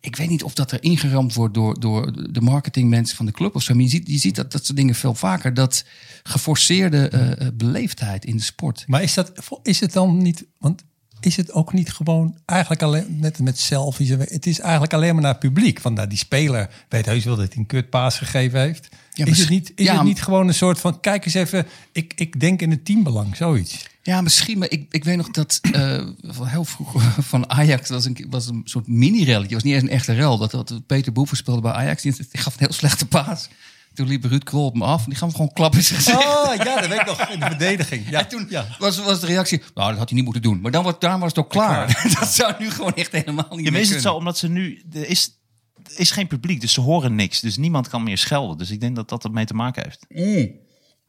[SPEAKER 4] Ik weet niet of dat er ingeramd wordt door, door de marketingmensen van de club of zo. Maar je ziet, je ziet dat, dat soort dingen veel vaker. Dat geforceerde eh, eh, beleefdheid in de sport.
[SPEAKER 3] Maar is, dat, is het dan niet... Want is het ook niet gewoon eigenlijk alleen net met selfies? en we- Het is eigenlijk alleen maar naar het publiek. Van nou, die speler weet heus wel dat hij een kutpaas gegeven heeft.
[SPEAKER 4] maar
[SPEAKER 3] is
[SPEAKER 4] sch-
[SPEAKER 3] het, niet, is
[SPEAKER 4] ja,
[SPEAKER 3] het
[SPEAKER 4] maar-
[SPEAKER 3] niet gewoon een soort van... Kijk eens even, ik, ik denk in het teambelang, zoiets. Nou,
[SPEAKER 4] Ja, misschien. Maar ik, ik weet nog dat eh, van heel vroeg *laughs* van Ajax was een, was een soort mini-relletje. Het was niet eens een echte rel. Dat, dat Peter Boeven speelde bij Ajax. Die, die gaf een heel slechte paas. Toen liep Ruud Krol op me af. En die gaf hem gewoon klap in zijn gezicht.
[SPEAKER 3] Oh, ja, dat weet ik nog. In de verdediging. Ja,
[SPEAKER 4] en toen
[SPEAKER 3] ja.
[SPEAKER 4] was, was de reactie, nou, dat had hij niet moeten doen. Maar dan was, daar was het ook klaar. *laughs* dat zou nu gewoon echt helemaal niet
[SPEAKER 2] Ja, maar
[SPEAKER 4] meer
[SPEAKER 2] is het zo
[SPEAKER 4] kunnen.
[SPEAKER 2] omdat ze nu... Er is, er is geen publiek, dus ze horen niks. Dus niemand kan meer schelden. Dus ik denk dat dat ermee te maken heeft.
[SPEAKER 4] Mm.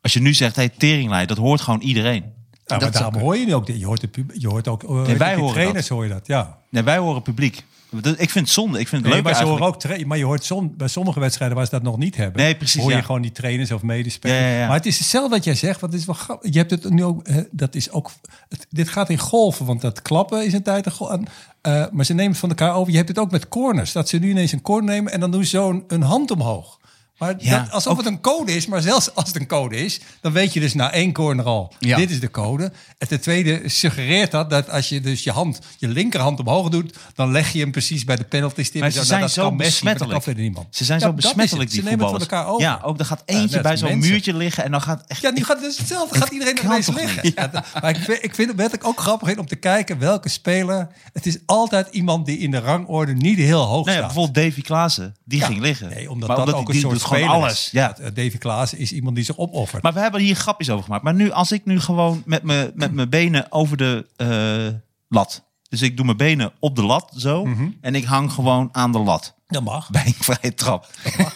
[SPEAKER 2] Als je nu zegt, hey, teringlijn, dat hoort gewoon iedereen.
[SPEAKER 3] Nou,
[SPEAKER 4] dat
[SPEAKER 3] maar daarom hoor je nu ook... dit. Je hoort, het pub- je hoort ook... eh,
[SPEAKER 2] wij
[SPEAKER 3] die
[SPEAKER 2] horen
[SPEAKER 3] trainers hoor je dat, ja.
[SPEAKER 2] Nee, wij horen publiek. Dat- Ik vind het zonde. Ik vind het
[SPEAKER 3] Nee,
[SPEAKER 2] leuk
[SPEAKER 3] maar, ze
[SPEAKER 2] eigenlijk.
[SPEAKER 3] horen ook tra- maar je hoort som- bij sommige wedstrijden waar ze dat nog niet hebben.
[SPEAKER 2] Nee, precies,
[SPEAKER 3] Hoor je
[SPEAKER 2] ja.
[SPEAKER 3] gewoon die trainers of medespelers.
[SPEAKER 2] Ja, ja, ja.
[SPEAKER 3] Maar het is hetzelfde wat jij zegt. Want het is wel grappig. Je hebt het nu ook. eh, dat is ook het- dit gaat in golven, want dat klappen is een tijd. een gol- en, eh, maar ze nemen het van elkaar over. Je hebt het ook met corners. Dat ze nu ineens een corner nemen en dan doen ze zo'n een hand omhoog. Maar
[SPEAKER 2] Ja,
[SPEAKER 3] dat, alsof het een code is, maar zelfs als het een code is, dan weet je dus na één corner al,
[SPEAKER 4] Ja.
[SPEAKER 3] dit is de code. En ten tweede suggereert dat dat als je dus je hand, je linkerhand omhoog doet, dan leg je hem precies bij de penalty stip.
[SPEAKER 2] Maar ze
[SPEAKER 3] Nou,
[SPEAKER 2] zijn
[SPEAKER 3] dat
[SPEAKER 2] zo
[SPEAKER 3] kan Messi, maar dat
[SPEAKER 2] besmettelijk.
[SPEAKER 3] kan verder niemand.
[SPEAKER 2] Ze zijn
[SPEAKER 3] Ja,
[SPEAKER 2] zo
[SPEAKER 3] dat is het.
[SPEAKER 2] besmettelijk,
[SPEAKER 3] Ze
[SPEAKER 2] die
[SPEAKER 3] nemen het
[SPEAKER 2] voetballers.
[SPEAKER 3] van elkaar over.
[SPEAKER 2] Ja, ook dan gaat eentje
[SPEAKER 3] net
[SPEAKER 2] bij zo'n
[SPEAKER 3] mensen.
[SPEAKER 2] muurtje liggen en dan gaat echt...
[SPEAKER 3] Ja, nu gaat het
[SPEAKER 2] *laughs*
[SPEAKER 3] dus hetzelfde. Dan gaat iedereen
[SPEAKER 2] kan
[SPEAKER 3] ineens
[SPEAKER 2] toch
[SPEAKER 3] liggen.
[SPEAKER 2] niet?
[SPEAKER 3] Ja, dat- maar ik vind, ik vind het werkelijk ook grappig in om te kijken welke speler... Het is altijd iemand die in de rangorde niet heel
[SPEAKER 2] Nou
[SPEAKER 3] hoog
[SPEAKER 2] ja,
[SPEAKER 3] staat.
[SPEAKER 2] bijvoorbeeld Davy Klaassen, die ging liggen.
[SPEAKER 3] Nee, omdat
[SPEAKER 2] Maar
[SPEAKER 3] dat
[SPEAKER 2] omdat
[SPEAKER 3] ook
[SPEAKER 2] die-
[SPEAKER 3] een
[SPEAKER 2] die
[SPEAKER 3] soort
[SPEAKER 2] doet gewoon
[SPEAKER 3] speler
[SPEAKER 2] alles.
[SPEAKER 3] is.
[SPEAKER 2] Ja.
[SPEAKER 3] Eh, Davy Klaassen is iemand die zich opoffert.
[SPEAKER 2] Maar we hebben hier grapjes over gemaakt. Maar nu, als ik nu gewoon met mijn met mijn benen over de
[SPEAKER 3] Mhm.
[SPEAKER 2] eh, lat. *laughs* Dus ik doe mijn benen op de lat zo. En ik hang gewoon aan de lat.
[SPEAKER 3] Dat mag.
[SPEAKER 2] bij een vrije trap.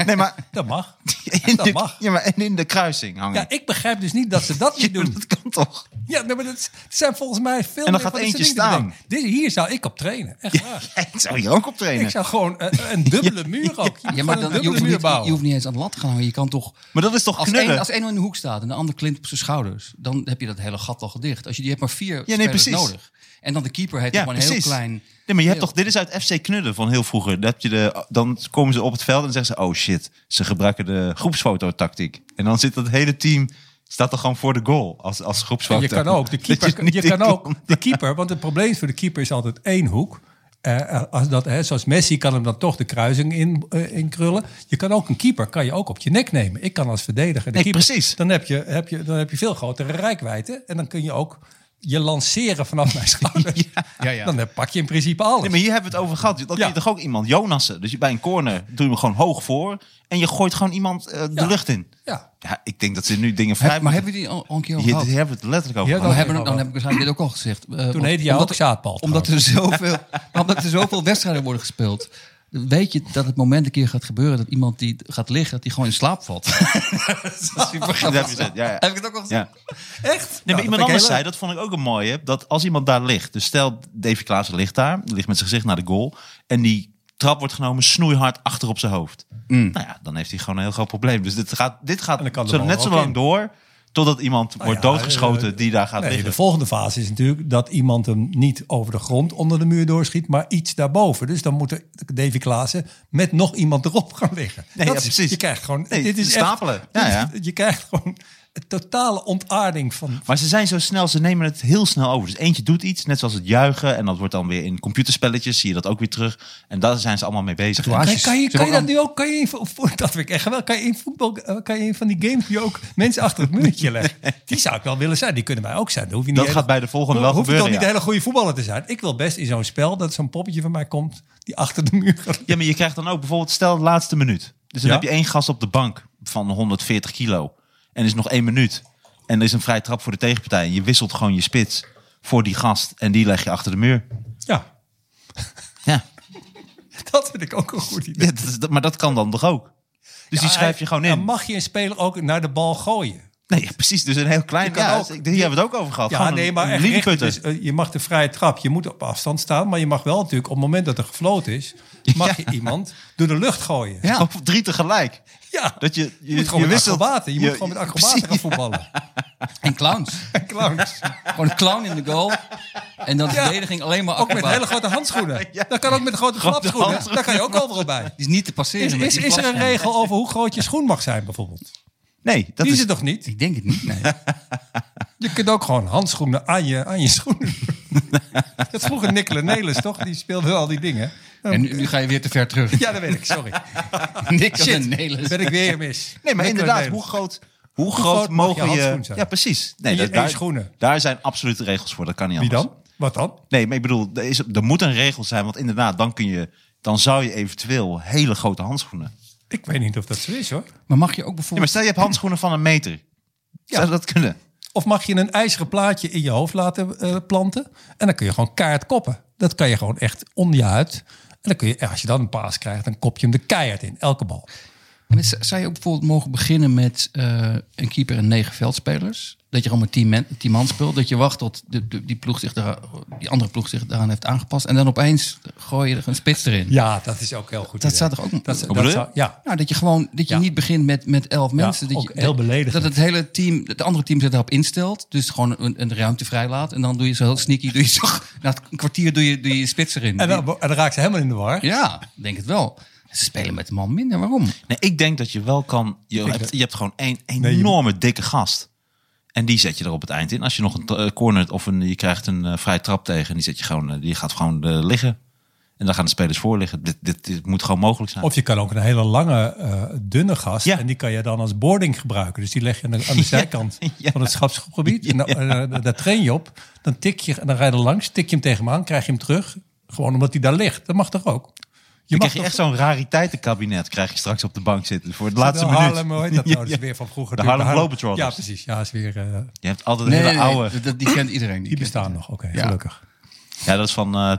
[SPEAKER 2] Nee, maar
[SPEAKER 3] Dat
[SPEAKER 2] *laughs*
[SPEAKER 3] mag.
[SPEAKER 2] in,
[SPEAKER 3] *laughs* Dat
[SPEAKER 2] de,
[SPEAKER 3] mag.
[SPEAKER 2] Ja, maar en in de kruising hangen. *laughs*
[SPEAKER 3] Ja, ik begrijp dus niet dat ze dat niet
[SPEAKER 2] Ja,
[SPEAKER 3] doen.
[SPEAKER 2] dat kan toch?
[SPEAKER 3] Ja, nee, maar dat is- het zijn volgens mij veel
[SPEAKER 2] En dan
[SPEAKER 3] meer
[SPEAKER 2] gaat
[SPEAKER 3] van dit soort
[SPEAKER 2] eentje
[SPEAKER 3] dingen te
[SPEAKER 2] staan.
[SPEAKER 3] bedenken. Dit, hier zou ik op trainen. Echt waar.
[SPEAKER 2] *laughs* Ik zou hier ook op trainen.
[SPEAKER 3] Ik zou gewoon eh, een,
[SPEAKER 4] *laughs*
[SPEAKER 3] een dubbele muur ook.
[SPEAKER 4] Ja, maar
[SPEAKER 3] een
[SPEAKER 4] dan, je,
[SPEAKER 3] dubbele
[SPEAKER 4] hoeft
[SPEAKER 3] muur
[SPEAKER 4] niet, je
[SPEAKER 3] bouwen.
[SPEAKER 4] hoeft niet eens aan het lat te gaan hangen. Je kan toch...
[SPEAKER 2] Maar dat is toch
[SPEAKER 4] Als
[SPEAKER 2] knullen?
[SPEAKER 4] één, als één in de hoek staat en de ander klimt op zijn schouders... dan heb je dat hele gat al gedicht. Als je, je hebt maar vier
[SPEAKER 2] nee,
[SPEAKER 4] spelers
[SPEAKER 2] precies.
[SPEAKER 4] nodig. En dan de keeper heeft
[SPEAKER 2] ja,
[SPEAKER 4] nog maar een
[SPEAKER 2] precies.
[SPEAKER 4] heel klein...
[SPEAKER 2] Nee, maar je hebt toch, dit is uit FC Knudden van heel vroeger. Dat heb je de, dan komen ze op het veld en zeggen ze: Oh shit, ze gebruiken de groepsfototactiek. En dan zit dat hele team, staat er gewoon voor de goal als, als
[SPEAKER 3] En je
[SPEAKER 2] groepsfoto.
[SPEAKER 3] kan
[SPEAKER 4] *laughs*
[SPEAKER 3] ook,
[SPEAKER 2] *laughs*
[SPEAKER 3] de
[SPEAKER 2] Dat het
[SPEAKER 3] keeper,
[SPEAKER 2] niet
[SPEAKER 3] je kan
[SPEAKER 2] in
[SPEAKER 3] ook
[SPEAKER 2] kon.
[SPEAKER 3] de keeper, want het probleem voor de keeper is altijd één hoek. Eh, als dat, hè, zoals Messi kan hem dan toch de kruising in, eh, in krullen. Je kan ook een keeper kan je ook op je nek nemen. Ik kan als verdediger de
[SPEAKER 2] Nee,
[SPEAKER 3] keeper.
[SPEAKER 2] precies.
[SPEAKER 3] Dan heb, je, heb je, dan heb je veel grotere rijkwijde. En dan kun je ook je lanceren vanaf
[SPEAKER 4] *laughs*
[SPEAKER 3] mijn schouder.
[SPEAKER 4] Ja, ja.
[SPEAKER 3] Dan eh, pak je in principe alles.
[SPEAKER 2] Nee, maar hier hebben we het over gehad. Dan kun je
[SPEAKER 3] Ja.
[SPEAKER 2] toch ook iemand, Jonassen. Dus je- bij een corner doe je hem gewoon hoog voor. En je gooit gewoon iemand eh, de
[SPEAKER 3] Ja.
[SPEAKER 2] lucht in.
[SPEAKER 3] Ja.
[SPEAKER 2] Ja, ik denk dat ze nu dingen vrij
[SPEAKER 4] Heb- maar hebben we die al, al een keer over
[SPEAKER 2] Hier,
[SPEAKER 4] gehad?
[SPEAKER 2] hier hebben we het letterlijk over
[SPEAKER 3] Ja,
[SPEAKER 2] gehad.
[SPEAKER 4] Dan,
[SPEAKER 3] dat-
[SPEAKER 4] hebben, we- dan heb ik waarschijnlijk dit ook al gezegd. Eh, want-
[SPEAKER 3] heette jij ook
[SPEAKER 4] er-
[SPEAKER 3] zaadbal,
[SPEAKER 4] Omdat er, zoveel, *laughs* omdat er zoveel wedstrijden worden gespeeld. Weet je dat het moment een keer gaat gebeuren dat iemand die gaat liggen, dat die gewoon in slaap
[SPEAKER 2] *laughs*
[SPEAKER 4] valt? dat is super
[SPEAKER 2] Dat
[SPEAKER 4] grappig.
[SPEAKER 2] heb je gezegd, *laughs* ja, ja.
[SPEAKER 4] Heb ik het ook al gezegd?
[SPEAKER 2] Ja.
[SPEAKER 3] Echt?
[SPEAKER 2] Nee, maar
[SPEAKER 3] Nou, dat
[SPEAKER 2] iemand
[SPEAKER 3] vind ik
[SPEAKER 2] anders
[SPEAKER 3] heel
[SPEAKER 2] zei, dat vond ik ook een mooie, dat als iemand daar ligt, dus stel Davy Klaassen ligt daar, ligt met zijn gezicht naar de goal, en die trap wordt genomen snoeihard achter op zijn hoofd. Nou ja, dan heeft hij gewoon een heel groot probleem. Dus dit gaat, dit
[SPEAKER 3] Mm. En
[SPEAKER 2] gaat
[SPEAKER 3] dan kan de
[SPEAKER 2] zo,
[SPEAKER 3] bal
[SPEAKER 2] net zo
[SPEAKER 3] ook
[SPEAKER 2] lang
[SPEAKER 3] in.
[SPEAKER 2] door, totdat iemand wordt
[SPEAKER 3] ja,
[SPEAKER 2] doodgeschoten
[SPEAKER 3] eh,
[SPEAKER 2] die daar gaat
[SPEAKER 3] Nee, de
[SPEAKER 2] liggen.
[SPEAKER 3] volgende fase is natuurlijk dat iemand hem niet over de grond onder de muur doorschiet, maar iets daarboven. Dus dan moet er- Davy Klaassen met nog iemand erop gaan liggen.
[SPEAKER 2] Nee,
[SPEAKER 3] Dat
[SPEAKER 2] ja,
[SPEAKER 3] is-
[SPEAKER 2] precies.
[SPEAKER 3] Je krijgt gewoon
[SPEAKER 2] Nee,
[SPEAKER 3] dit is
[SPEAKER 2] stapelen.
[SPEAKER 3] Echt,
[SPEAKER 2] Ja, ja.
[SPEAKER 3] Je krijgt gewoon een totale ontaarding van.
[SPEAKER 2] Maar ze zijn zo snel, ze nemen het heel snel over. Dus eentje doet iets, net zoals het juichen, en dat wordt dan weer in computerspelletjes, zie je dat ook weer terug. En daar zijn ze allemaal mee bezig.
[SPEAKER 4] Waar
[SPEAKER 3] Kan je, kan je,
[SPEAKER 4] Ze
[SPEAKER 3] kan je
[SPEAKER 4] hebben
[SPEAKER 3] dat nu ook? Kan je in, vo- vo- dat vind ik echt wel. Kan je in voetbal, eh, kan je in van die games nu ook mensen achter het
[SPEAKER 2] *laughs*
[SPEAKER 3] muurtje leggen? Die zou ik wel willen zijn. Die kunnen wij ook zijn. Dan hoef je niet
[SPEAKER 2] Dat gaat bij de volgende wel
[SPEAKER 3] hoef je
[SPEAKER 2] gebeuren,
[SPEAKER 3] dan niet
[SPEAKER 2] ja.
[SPEAKER 3] een hele goede voetballer te zijn. Ik wil best in zo'n spel dat zo'n poppetje van mij komt die achter de muur gaat
[SPEAKER 2] Ja, maar je krijgt dan ook bijvoorbeeld, stel de laatste minuut. Dus dan
[SPEAKER 3] Ja.
[SPEAKER 2] heb je één gast op de bank van 140 kilo. En er is nog één minuut. En er is een vrij trap voor de tegenpartij. En je wisselt gewoon je spits voor die gast. En die leg je achter de muur.
[SPEAKER 3] Ja,
[SPEAKER 2] *laughs* Ja,
[SPEAKER 3] *laughs* Dat vind ik ook een goed idee.
[SPEAKER 2] Ja, dat, is- dat- maar dat kan dan toch ook? Dus die schrijf je gewoon
[SPEAKER 3] Dan
[SPEAKER 2] in.
[SPEAKER 3] mag je een speler ook naar de bal gooien.
[SPEAKER 2] Nee, ja, precies. Dus een heel klein...
[SPEAKER 3] Je kan
[SPEAKER 2] Ja,
[SPEAKER 3] ook-
[SPEAKER 2] dus ik- hier hebben we het ook over gehad.
[SPEAKER 3] Ja,
[SPEAKER 2] Gewoon
[SPEAKER 3] nee,
[SPEAKER 2] een-
[SPEAKER 3] maar
[SPEAKER 2] een
[SPEAKER 3] echt
[SPEAKER 2] linieputter.
[SPEAKER 3] richten. Dus, eh, je mag de vrije trap. Je moet op afstand staan. Maar je mag wel natuurlijk op het moment dat er gefloten is... mag je iemand door de lucht
[SPEAKER 2] *laughs*
[SPEAKER 3] gooien.
[SPEAKER 4] Ja.
[SPEAKER 2] Of drie tegelijk.
[SPEAKER 3] Ja,
[SPEAKER 2] Dat je, je,
[SPEAKER 3] je moet gewoon
[SPEAKER 2] je
[SPEAKER 3] met
[SPEAKER 2] wisselt-
[SPEAKER 3] acrobaten. Je,
[SPEAKER 2] je-
[SPEAKER 3] moet gewoon met acrobaten
[SPEAKER 2] precies,
[SPEAKER 3] gaan
[SPEAKER 2] *laughs*
[SPEAKER 3] voetballen.
[SPEAKER 4] En clowns.
[SPEAKER 3] En clowns.
[SPEAKER 4] Gewoon een clown in de goal. En dan de
[SPEAKER 3] Ja.
[SPEAKER 4] verdediging alleen maar
[SPEAKER 3] Ook met
[SPEAKER 4] acrobaat.
[SPEAKER 3] hele grote handschoenen.
[SPEAKER 2] *laughs*
[SPEAKER 3] Dat kan ook met grote
[SPEAKER 2] Grote
[SPEAKER 3] flapschoenen.
[SPEAKER 2] handschoenen.
[SPEAKER 3] Daar kan je ook overal
[SPEAKER 2] *laughs*
[SPEAKER 3] bij.
[SPEAKER 4] Die is niet te passeren
[SPEAKER 3] Is,
[SPEAKER 4] met
[SPEAKER 3] is,
[SPEAKER 4] die
[SPEAKER 3] is er een
[SPEAKER 4] plasma.
[SPEAKER 3] regel over hoe groot je schoen mag zijn bijvoorbeeld?
[SPEAKER 2] Nee, dat
[SPEAKER 3] Die is
[SPEAKER 2] is...
[SPEAKER 3] er toch niet?
[SPEAKER 4] Ik denk het niet, nee.
[SPEAKER 3] Je kunt ook gewoon handschoenen aan je, aan je
[SPEAKER 2] *laughs*
[SPEAKER 3] schoenen. doen. dat vroeger Nicola Nelis, toch? Die speelde al die dingen.
[SPEAKER 4] En nu, nu ga je weer te ver terug.
[SPEAKER 3] Ja, dat weet ik, sorry.
[SPEAKER 2] *laughs*
[SPEAKER 4] *laughs* Niks
[SPEAKER 3] Shit,
[SPEAKER 4] en Nelis.
[SPEAKER 3] ben ik weer mis.
[SPEAKER 2] Nee, maar
[SPEAKER 3] Nicola
[SPEAKER 2] inderdaad,
[SPEAKER 3] Nelis.
[SPEAKER 2] hoe groot, hoe
[SPEAKER 3] groot
[SPEAKER 2] groot
[SPEAKER 3] mag je
[SPEAKER 2] mogen je...
[SPEAKER 3] handschoen zijn?
[SPEAKER 2] Ja, precies.
[SPEAKER 3] En
[SPEAKER 2] Nee,
[SPEAKER 3] je
[SPEAKER 2] dat- daar,
[SPEAKER 3] schoenen.
[SPEAKER 2] daar zijn absolute regels voor. Dat kan niet
[SPEAKER 3] Wie
[SPEAKER 2] anders.
[SPEAKER 3] dan? Wat dan?
[SPEAKER 2] Nee, maar ik bedoel, er, is, er moet een regel zijn. Want inderdaad, dan, kun je, dan zou je eventueel hele grote handschoenen...
[SPEAKER 3] Ik weet niet of dat zo is, hoor.
[SPEAKER 4] Maar mag je ook
[SPEAKER 2] Ja,
[SPEAKER 4] bijvoorbeeld...
[SPEAKER 2] maar stel je hebt handschoenen van een meter. Zou dat kunnen?
[SPEAKER 3] Of mag je een ijzeren plaatje in je hoofd laten eh, planten? En dan kun je gewoon keihard koppen. Dat kan je gewoon echt onder je huid. En dan kun je, en als je dan een paas krijgt, dan kop je hem de keihard in. Elke bal.
[SPEAKER 4] En z- Zou je ook bijvoorbeeld mogen beginnen met eh, een keeper en negen veldspelers? Dat je gewoon met tien man, tien man speelt. Dat je wacht tot de, de- die, ploeg zich daar, die andere ploeg zich daaraan heeft aangepast. En dan opeens gooi je er een spits erin.
[SPEAKER 3] Ja, dat is ook heel goed.
[SPEAKER 4] Dat
[SPEAKER 3] idee.
[SPEAKER 4] zou toch ook...
[SPEAKER 3] Dat, dat
[SPEAKER 2] bedoel je?
[SPEAKER 3] zou- ja.
[SPEAKER 4] nou, dat je gewoon dat je
[SPEAKER 3] Ja.
[SPEAKER 4] niet begint met, met elf mensen. Dat
[SPEAKER 3] ook
[SPEAKER 4] je,
[SPEAKER 3] heel beledigend.
[SPEAKER 4] Dat het hele team, het andere team zich daarop instelt. Dus gewoon een, een ruimte vrijlaat. En dan doe je zo heel sneaky. Doe je zo, *laughs* na het kwartier doe je, doe je je spits erin.
[SPEAKER 3] En dan, en dan raakt ze helemaal in de war.
[SPEAKER 4] ja, ik denk het wel. Ze spelen met een man minder. Waarom?
[SPEAKER 2] Nee, ik denk dat je wel kan... Je, hebt, je hebt gewoon één enorme dikke gast. En die zet je er op het eind in. Als je nog een t- eh, corner of een, je krijgt een eh, vrije trap tegen... Die, zet je gewoon, eh, die gaat gewoon eh, liggen. En dan gaan de spelers voor liggen. Dit, dit, dit moet gewoon mogelijk zijn.
[SPEAKER 3] Of je kan ook een hele lange, eh, dunne gast.
[SPEAKER 2] Nou. Ja.
[SPEAKER 3] En die kan je dan als boarding gebruiken. Dus die leg je aan de, aan de zijkant
[SPEAKER 2] *laughs* Ja.
[SPEAKER 3] van het schapsgebied. En dan, eh, daar train je op. Dan tik je, en dan rijd je er langs. Tik je hem tegen hem aan. Krijg je hem terug. Gewoon omdat hij daar ligt. Dat mag toch ook?
[SPEAKER 2] dan
[SPEAKER 3] Je mag
[SPEAKER 2] krijg je echt zo'n rariteitenkabinet. Krijg je straks op de bank zitten voor het laatste
[SPEAKER 3] de
[SPEAKER 2] minuut. *laughs*
[SPEAKER 3] Harlem, hoe heet dat nou? Dat is weer van vroeger.
[SPEAKER 2] De
[SPEAKER 3] natuurlijk.
[SPEAKER 2] Harlem Globetrotters.
[SPEAKER 3] Ja, precies. Ja, is weer, eh,
[SPEAKER 2] Je hebt altijd een hele oude...
[SPEAKER 4] dat- die kent iedereen.
[SPEAKER 3] die
[SPEAKER 4] kent-
[SPEAKER 3] bestaan nog. Oké,
[SPEAKER 4] Ja.
[SPEAKER 3] gelukkig.
[SPEAKER 2] Ja, dat is van. eh,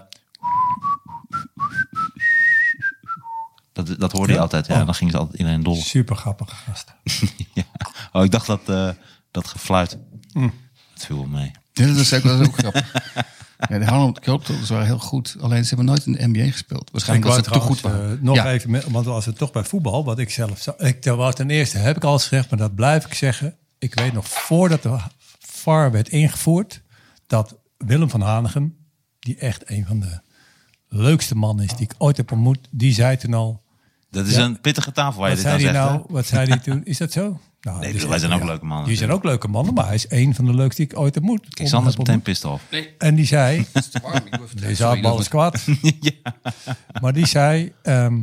[SPEAKER 2] dat, dat hoorde je
[SPEAKER 3] Ja?
[SPEAKER 2] altijd. Ja,
[SPEAKER 3] Oh.
[SPEAKER 2] dan gingen ze altijd iedereen dol. *laughs*
[SPEAKER 3] Super grappige gast.
[SPEAKER 2] ja. Oh, ik dacht dat, eh, dat gefluit.
[SPEAKER 3] Mm.
[SPEAKER 2] Dat viel wel mee.
[SPEAKER 4] Ja, dat is ook, dat is ook *laughs* grappig. Ja, de Harlem Globetrotters waren heel goed. Alleen ze hebben nooit in de NBA gespeeld.
[SPEAKER 3] Ik
[SPEAKER 4] Waarschijnlijk
[SPEAKER 3] wou
[SPEAKER 4] was ze te goed
[SPEAKER 3] trouwens
[SPEAKER 4] waren.
[SPEAKER 3] eh, nog
[SPEAKER 4] Ja.
[SPEAKER 3] even, met- want als we toch bij voetbal, wat ik zelf zou- ik wou ten eerste heb ik al eens gezegd, maar dat blijf ik zeggen. Ik weet nog voordat de VAR werd ingevoerd, dat Willem van Hanegem, die echt een van de leukste mannen is die ik ooit heb ontmoet, die zei toen al.
[SPEAKER 2] Dat is
[SPEAKER 3] Ja.
[SPEAKER 2] een pittige tafel waar je
[SPEAKER 3] Wat
[SPEAKER 2] dit
[SPEAKER 3] zei
[SPEAKER 2] aan
[SPEAKER 3] hij
[SPEAKER 2] zegt.
[SPEAKER 3] nou?
[SPEAKER 2] hè?
[SPEAKER 3] Wat
[SPEAKER 2] *laughs*
[SPEAKER 3] zei hij toen? Is dat zo? Nou,
[SPEAKER 2] Nee,
[SPEAKER 3] dus
[SPEAKER 2] wij zijn ook
[SPEAKER 3] ja,
[SPEAKER 2] leuke mannen
[SPEAKER 3] Die zijn ook leuke mannen, maar hij is een van de leukste die ik ooit heb ontmoet.
[SPEAKER 2] Kijk, Sander is
[SPEAKER 3] heb
[SPEAKER 2] meteen
[SPEAKER 3] ontmoet.
[SPEAKER 2] pissed off.
[SPEAKER 3] En die zei,
[SPEAKER 4] Deze
[SPEAKER 3] deze hardbal is kwaad. Maar die zei, ehm,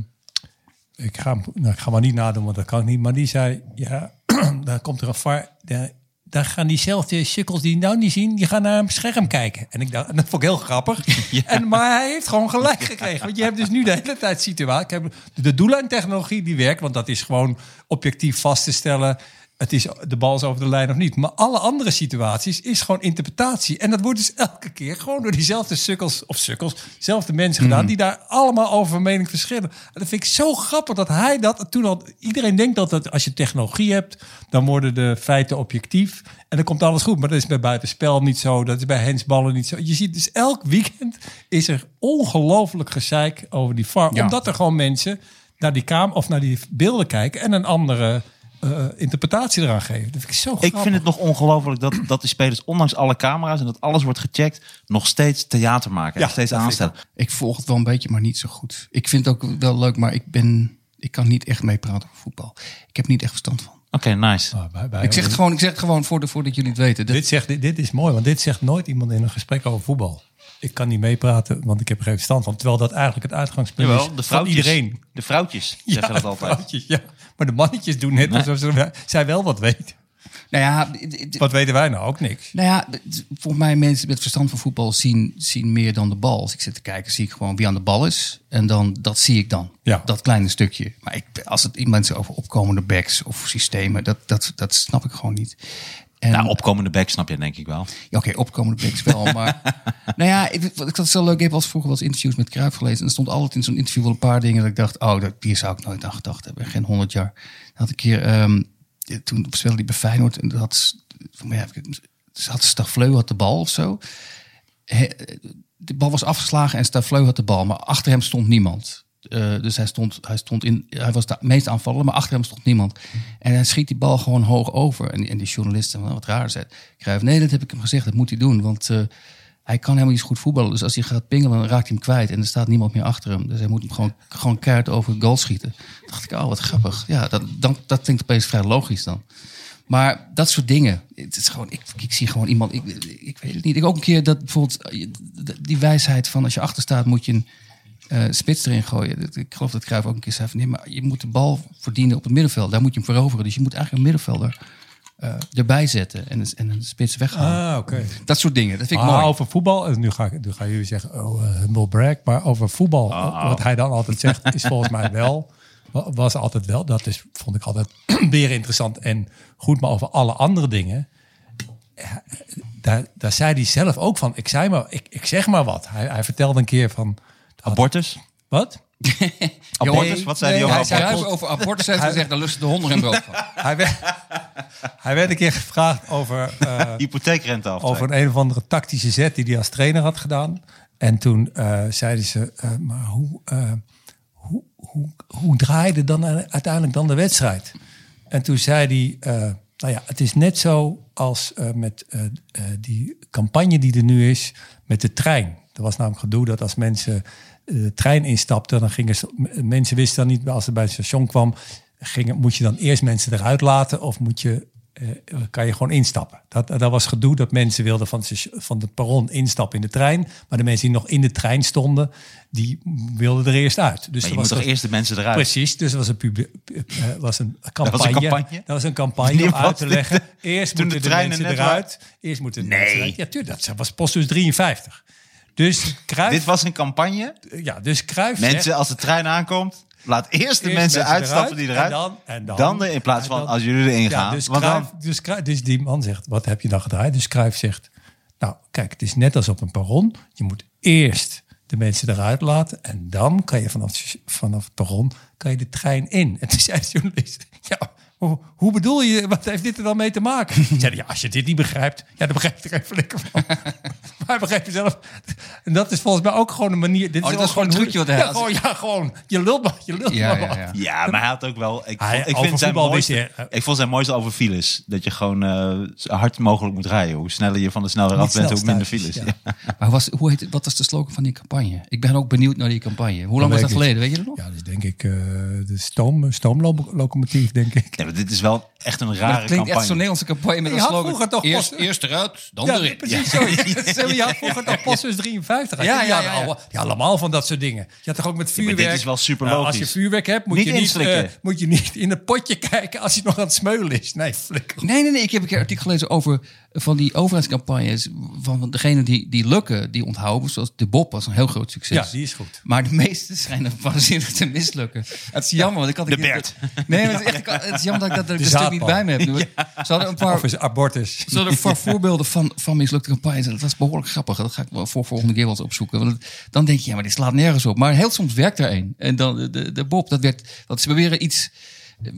[SPEAKER 3] ik, ga, hem- nou, ik ga maar niet nadoen, want dat kan ik niet. Maar die zei, ja, *clears throat* daar komt er een var. Daar, daar gaan diezelfde sukkels die het nou niet zien, die gaan naar een scherm kijken. En ik dacht, *laughs* en dat vond ik heel grappig. En, maar hij heeft gewoon gelijk gekregen. Want je hebt dus nu de hele tijd situatie. ik heb- De, de doellijntechnologie die werkt, want dat is gewoon objectief vast te stellen. Het is de bal is over de lijn of niet. Maar alle andere situaties is gewoon interpretatie. En dat wordt dus elke keer gewoon door diezelfde sukkels of sukkels, zelfde mensen gedaan, die daar allemaal over van mening verschillen. En dat vind ik zo grappig dat hij dat toen al. Iedereen denkt dat, dat als je technologie hebt, dan worden de feiten objectief. En dan komt alles goed. Maar dat is bij buitenspel niet zo. Dat is bij hensballen niet zo. Je ziet dus elk weekend is er ongelooflijk gezeik over die VAR.
[SPEAKER 4] Ja.
[SPEAKER 3] Omdat er gewoon mensen naar die kamer of naar die beelden kijken en een andere eh, interpretatie eraan geven. Dat vind ik zo grappig.
[SPEAKER 2] Ik vind het nog ongelooflijk dat, dat die spelers, ondanks alle camera's en dat alles wordt gecheckt, nog steeds theater maken.
[SPEAKER 3] Ja,
[SPEAKER 2] en steeds
[SPEAKER 3] dat vind ik
[SPEAKER 2] aanstellen.
[SPEAKER 4] Ik volg het wel een beetje, maar niet zo goed. Ik vind het ook wel leuk, maar ik, ben, ik kan niet echt meepraten over voetbal. Ik heb niet echt verstand van.
[SPEAKER 2] Oké, nice.
[SPEAKER 3] Ah, bij- bij-
[SPEAKER 4] Ik zeg het gewoon, ik zeg het gewoon voor de, voordat jullie het weten. Dat-
[SPEAKER 3] Dit, zegt, dit, dit is mooi, want dit zegt nooit iemand in een gesprek over voetbal. Ik kan niet meepraten, want ik heb er geen verstand van. Terwijl dat eigenlijk het uitgangspunt
[SPEAKER 2] Jawel, de
[SPEAKER 3] is van
[SPEAKER 2] vrouwtjes.
[SPEAKER 3] iedereen.
[SPEAKER 2] De vrouwtjes zeggen dat altijd.
[SPEAKER 3] vrouwtjes, ja. Maar de mannetjes doen net alsof ze, zij wel wat weten.
[SPEAKER 4] nou ja, d- d-
[SPEAKER 3] Wat weten wij nou? Ook niks.
[SPEAKER 4] Nou ja, d- volgens mij mensen met verstand van voetbal zien, zien meer dan de bal. Als ik zit te kijken, zie ik gewoon wie aan de bal is. En dan, dat zie ik dan.
[SPEAKER 3] Ja.
[SPEAKER 4] Dat kleine stukje. Maar ik, als het mensen over opkomende backs of systemen, dat, dat, dat snap ik gewoon niet. En,
[SPEAKER 2] Nou, opkomende back snap je denk ik wel.
[SPEAKER 4] ja, Oké, opkomende backs wel, maar... nou ja, ik, wat ik dat zo leuk. Ik heb als vroeger wel eens interviews met Cruijff gelezen. En er stond altijd in zo'n interview wel een paar dingen dat ik dacht... oh, dat, hier zou ik nooit aan gedacht hebben. Geen honderd jaar. Dan had ik hier... ehm, toen speelde hij bij Feyenoord en dat had... Van, ja, ze had Stafleu had de bal of zo. He- de bal was afgeslagen en Stafleu had de bal. Maar achter hem stond niemand. Eh, dus hij, stond, hij, stond in, hij was de meest aanvallende, maar achter hem stond niemand. En hij schiet die bal gewoon hoog over. En, en die journalisten, "Nou, wat raar zei Cruijff, nee, dat heb ik hem gezegd, dat moet hij doen. Want eh, hij kan helemaal niet zo goed voetballen. Dus als hij gaat pingelen, dan raakt hij hem kwijt. En er staat niemand meer achter hem. Dus hij moet hem gewoon, gewoon keihard over het goal schieten. Toen dacht ik, oh, wat grappig. Ja, dat, dan, dat klinkt opeens vrij logisch dan. Maar dat soort dingen. Het is gewoon, ik, ik zie gewoon iemand. Ik, ik weet het niet. Ik ook een keer dat bijvoorbeeld eh, die wijsheid van als je achter staat, moet je een eh, spits erin gooien. Dat- Ik geloof dat Cruijff ook een keer zei van nee, maar je moet de bal verdienen op het middenveld. Daar moet je hem veroveren. Dus je moet eigenlijk een middenvelder eh, erbij zetten en, een- en een spits weghalen.
[SPEAKER 3] Ah, oké.
[SPEAKER 4] dat soort dingen. Dat vind ik
[SPEAKER 3] Maar
[SPEAKER 2] Ah.
[SPEAKER 4] mooi.
[SPEAKER 3] over voetbal, en nu, ga ik, nu gaan jullie zeggen, oh, eh, humble brag. Maar over voetbal,
[SPEAKER 2] Ah.
[SPEAKER 3] wat hij dan altijd zegt, is volgens mij wel, wa- was altijd wel. Dat is, vond ik altijd *clears throat* weer interessant en goed. Maar over alle andere dingen, ja, daar, daar zei hij zelf ook van. Ik, zei maar, ik, ik zeg maar wat. Hij, hij vertelde een keer van,
[SPEAKER 2] Abortus?
[SPEAKER 3] wat?
[SPEAKER 2] *laughs* Abortus? wat zei
[SPEAKER 3] nee,
[SPEAKER 2] die
[SPEAKER 3] hij
[SPEAKER 2] jongen?
[SPEAKER 3] zei-
[SPEAKER 4] Cruijff over abortus heeft gezegd, daar lusten de honden en brood van.
[SPEAKER 3] Hij werd, hij werd een keer gevraagd
[SPEAKER 2] *laughs*
[SPEAKER 3] over... eh,
[SPEAKER 2] Hypotheekrente af.
[SPEAKER 3] over een, een of andere tactische zet die hij als trainer had gedaan. En toen eh, zeiden ze, eh, maar hoe, eh, hoe, hoe, hoe draaide dan uiteindelijk dan de wedstrijd? En toen zei hij, eh, nou ja, het is net zo als eh, met eh, eh, die campagne die er nu is met de trein. Er was namelijk gedoe dat als mensen eh, de trein instapten, dan gingen ze, m- mensen wisten dan niet, als ze bij het station kwam, gingen, moet je dan eerst mensen eruit laten of moet je eh, kan je gewoon instappen. Dat, dat was gedoe dat mensen wilden van, het station- van het perron instappen in de trein. Maar de mensen die nog in de trein stonden, die wilden er eerst uit.
[SPEAKER 2] Maar
[SPEAKER 3] Dus er
[SPEAKER 2] je
[SPEAKER 3] was
[SPEAKER 2] moet toch
[SPEAKER 3] dat-
[SPEAKER 2] eerst de mensen eruit?
[SPEAKER 3] Precies, dus er was een, publie- eh, was een campagne.
[SPEAKER 2] campagne?
[SPEAKER 3] Dat was een
[SPEAKER 2] *laughs*
[SPEAKER 3] campagne om
[SPEAKER 2] Wanneer
[SPEAKER 3] uit
[SPEAKER 2] was
[SPEAKER 3] te
[SPEAKER 2] dit?
[SPEAKER 3] leggen. Eerst
[SPEAKER 2] Toen
[SPEAKER 3] moeten
[SPEAKER 2] de
[SPEAKER 3] de,
[SPEAKER 2] treinen
[SPEAKER 3] mensen
[SPEAKER 2] net waren?
[SPEAKER 3] eruit. Eerst moeten de
[SPEAKER 2] Nee.
[SPEAKER 3] mensen eruit. Ja, tuurlijk, dat was postbus 53. Dus Cruijff,
[SPEAKER 2] Dit was een campagne.
[SPEAKER 3] ja, dus Cruijff zegt,
[SPEAKER 2] Mensen, als de trein aankomt, laat eerst de
[SPEAKER 3] Eerst
[SPEAKER 2] mensen
[SPEAKER 3] mensen
[SPEAKER 2] uitstappen
[SPEAKER 3] eruit
[SPEAKER 2] die eruit.
[SPEAKER 3] en dan- en dan-
[SPEAKER 2] de, in plaats
[SPEAKER 3] en
[SPEAKER 2] van
[SPEAKER 3] dan-
[SPEAKER 2] als jullie erin gaan.
[SPEAKER 3] Ja, dus,
[SPEAKER 2] Want
[SPEAKER 3] Cruijff,
[SPEAKER 2] dan,
[SPEAKER 3] dus, Cruijff- dus die man zegt, wat heb je dan gedraaid? Dus Cruijff zegt, nou kijk, het is net als op een perron. Je moet eerst de mensen eruit laten. En dan kan je vanaf, vanaf het perron kan je de trein in. En toen zei de journalist, ja, hoe, hoe bedoel je, wat heeft dit er dan mee te
[SPEAKER 2] *laughs*
[SPEAKER 3] maken? Ik zei, ja, als je dit niet begrijpt, ja, dan begrijp je er even lekker van. *laughs* maar hij begrijpt jezelf. En dat is volgens mij ook gewoon een manier. Dit
[SPEAKER 4] Oh,
[SPEAKER 3] is
[SPEAKER 4] dat
[SPEAKER 3] ook
[SPEAKER 4] is gewoon een
[SPEAKER 3] hoe-
[SPEAKER 4] trucje wat hij
[SPEAKER 3] ja,
[SPEAKER 4] had.
[SPEAKER 3] gewoon, Oh ja, gewoon, je lult maar, je lult
[SPEAKER 4] Ja,
[SPEAKER 3] maar
[SPEAKER 4] ja,
[SPEAKER 3] wat.
[SPEAKER 4] ja.
[SPEAKER 2] Ja, maar hij had ook wel. Ik,
[SPEAKER 3] Hij-
[SPEAKER 2] vond- ik,
[SPEAKER 3] over
[SPEAKER 2] vind zijn
[SPEAKER 3] voetbal
[SPEAKER 2] mooiste,
[SPEAKER 3] weet je, eh,
[SPEAKER 2] ik vond zijn mooiste over files. Dat je gewoon eh, zo hard mogelijk moet rijden. Hoe sneller je van de snelweg af
[SPEAKER 3] Niet
[SPEAKER 2] bent, hoe
[SPEAKER 3] snel
[SPEAKER 2] minder
[SPEAKER 3] stuiters,
[SPEAKER 2] files.
[SPEAKER 3] ja.
[SPEAKER 2] Ja.
[SPEAKER 4] Maar was, hoe heet, het- wat was de slogan van die campagne? Ik ben ook benieuwd naar die campagne. Hoe
[SPEAKER 3] Dat
[SPEAKER 4] lang was dat
[SPEAKER 3] weet ik
[SPEAKER 4] geleden? Weet je dat nog?
[SPEAKER 3] Ja, dat is denk ik eh, de stoom, stoomlocomotief, denk ik.
[SPEAKER 2] Nee, maar dit is wel echt een
[SPEAKER 4] Maar
[SPEAKER 2] rare
[SPEAKER 4] dat klinkt echt
[SPEAKER 2] campagne.
[SPEAKER 4] zo'n Nederlandse campagne met
[SPEAKER 3] Die
[SPEAKER 4] een
[SPEAKER 3] had
[SPEAKER 4] slogan.
[SPEAKER 3] vroeger toch
[SPEAKER 4] eerst,
[SPEAKER 3] pas-
[SPEAKER 4] eerst eruit, dan
[SPEAKER 3] Ja,
[SPEAKER 4] erin.
[SPEAKER 3] precies zo. *laughs* Ja. Je had vroeger toch Passus 53.
[SPEAKER 4] Ja,
[SPEAKER 3] Ja,
[SPEAKER 4] ja,
[SPEAKER 3] ja,
[SPEAKER 4] ja, ja.
[SPEAKER 3] allemaal van dat soort dingen. Je had toch ook met
[SPEAKER 2] maar dit
[SPEAKER 3] vuurwerk.
[SPEAKER 2] is wel super
[SPEAKER 3] Nou,
[SPEAKER 2] logisch.
[SPEAKER 3] als je vuurwerk hebt, moet,
[SPEAKER 2] Niet
[SPEAKER 3] je niet,
[SPEAKER 2] inslikken.
[SPEAKER 3] eh, moet je niet in het potje kijken als je nog aan het smeulen is. Nee, flikker.
[SPEAKER 4] Nee, nee, nee. Ik heb een keer een artikel gelezen over van die overheidscampagnes. Van van degene die, die lukken, die onthouden. Zoals de Bob was een heel groot succes.
[SPEAKER 3] Ja, die is goed.
[SPEAKER 4] Maar de meeste schijnen *laughs* waanzinnig te mislukken. Het is jammer, want ik had...
[SPEAKER 2] De
[SPEAKER 4] ik-
[SPEAKER 2] Bert.
[SPEAKER 4] Nee, maar het, is echt, het is jammer dat ik dat er
[SPEAKER 3] De
[SPEAKER 4] een stuk niet
[SPEAKER 3] zaadpan.
[SPEAKER 4] bij me heb.
[SPEAKER 3] *laughs*
[SPEAKER 4] Ze hadden een paar...
[SPEAKER 3] Of is abortus.
[SPEAKER 4] Ze hadden een paar voorbeelden van, van mislukte campagnes. En Dat was behoorlijk grappig. Dat ga ik wel voor volgende keer wel eens opzoeken. Want het- dan denk je, ja, maar dit slaat nergens op. Maar heel soms werkt er een. En dan de, de, de Bob, dat werd... Dat ze proberen iets...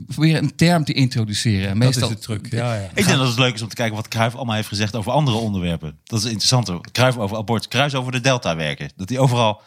[SPEAKER 4] Proberen een term te introduceren. En
[SPEAKER 3] Dat is
[SPEAKER 4] Meestal,
[SPEAKER 3] de truc. Ja, ja.
[SPEAKER 2] Ik denk dat het leuk is om te kijken wat Cruijff allemaal heeft gezegd over andere onderwerpen. Dat is interessanter. Cruijff over abortus, Cruijff over de delta werken. Dat hij overal,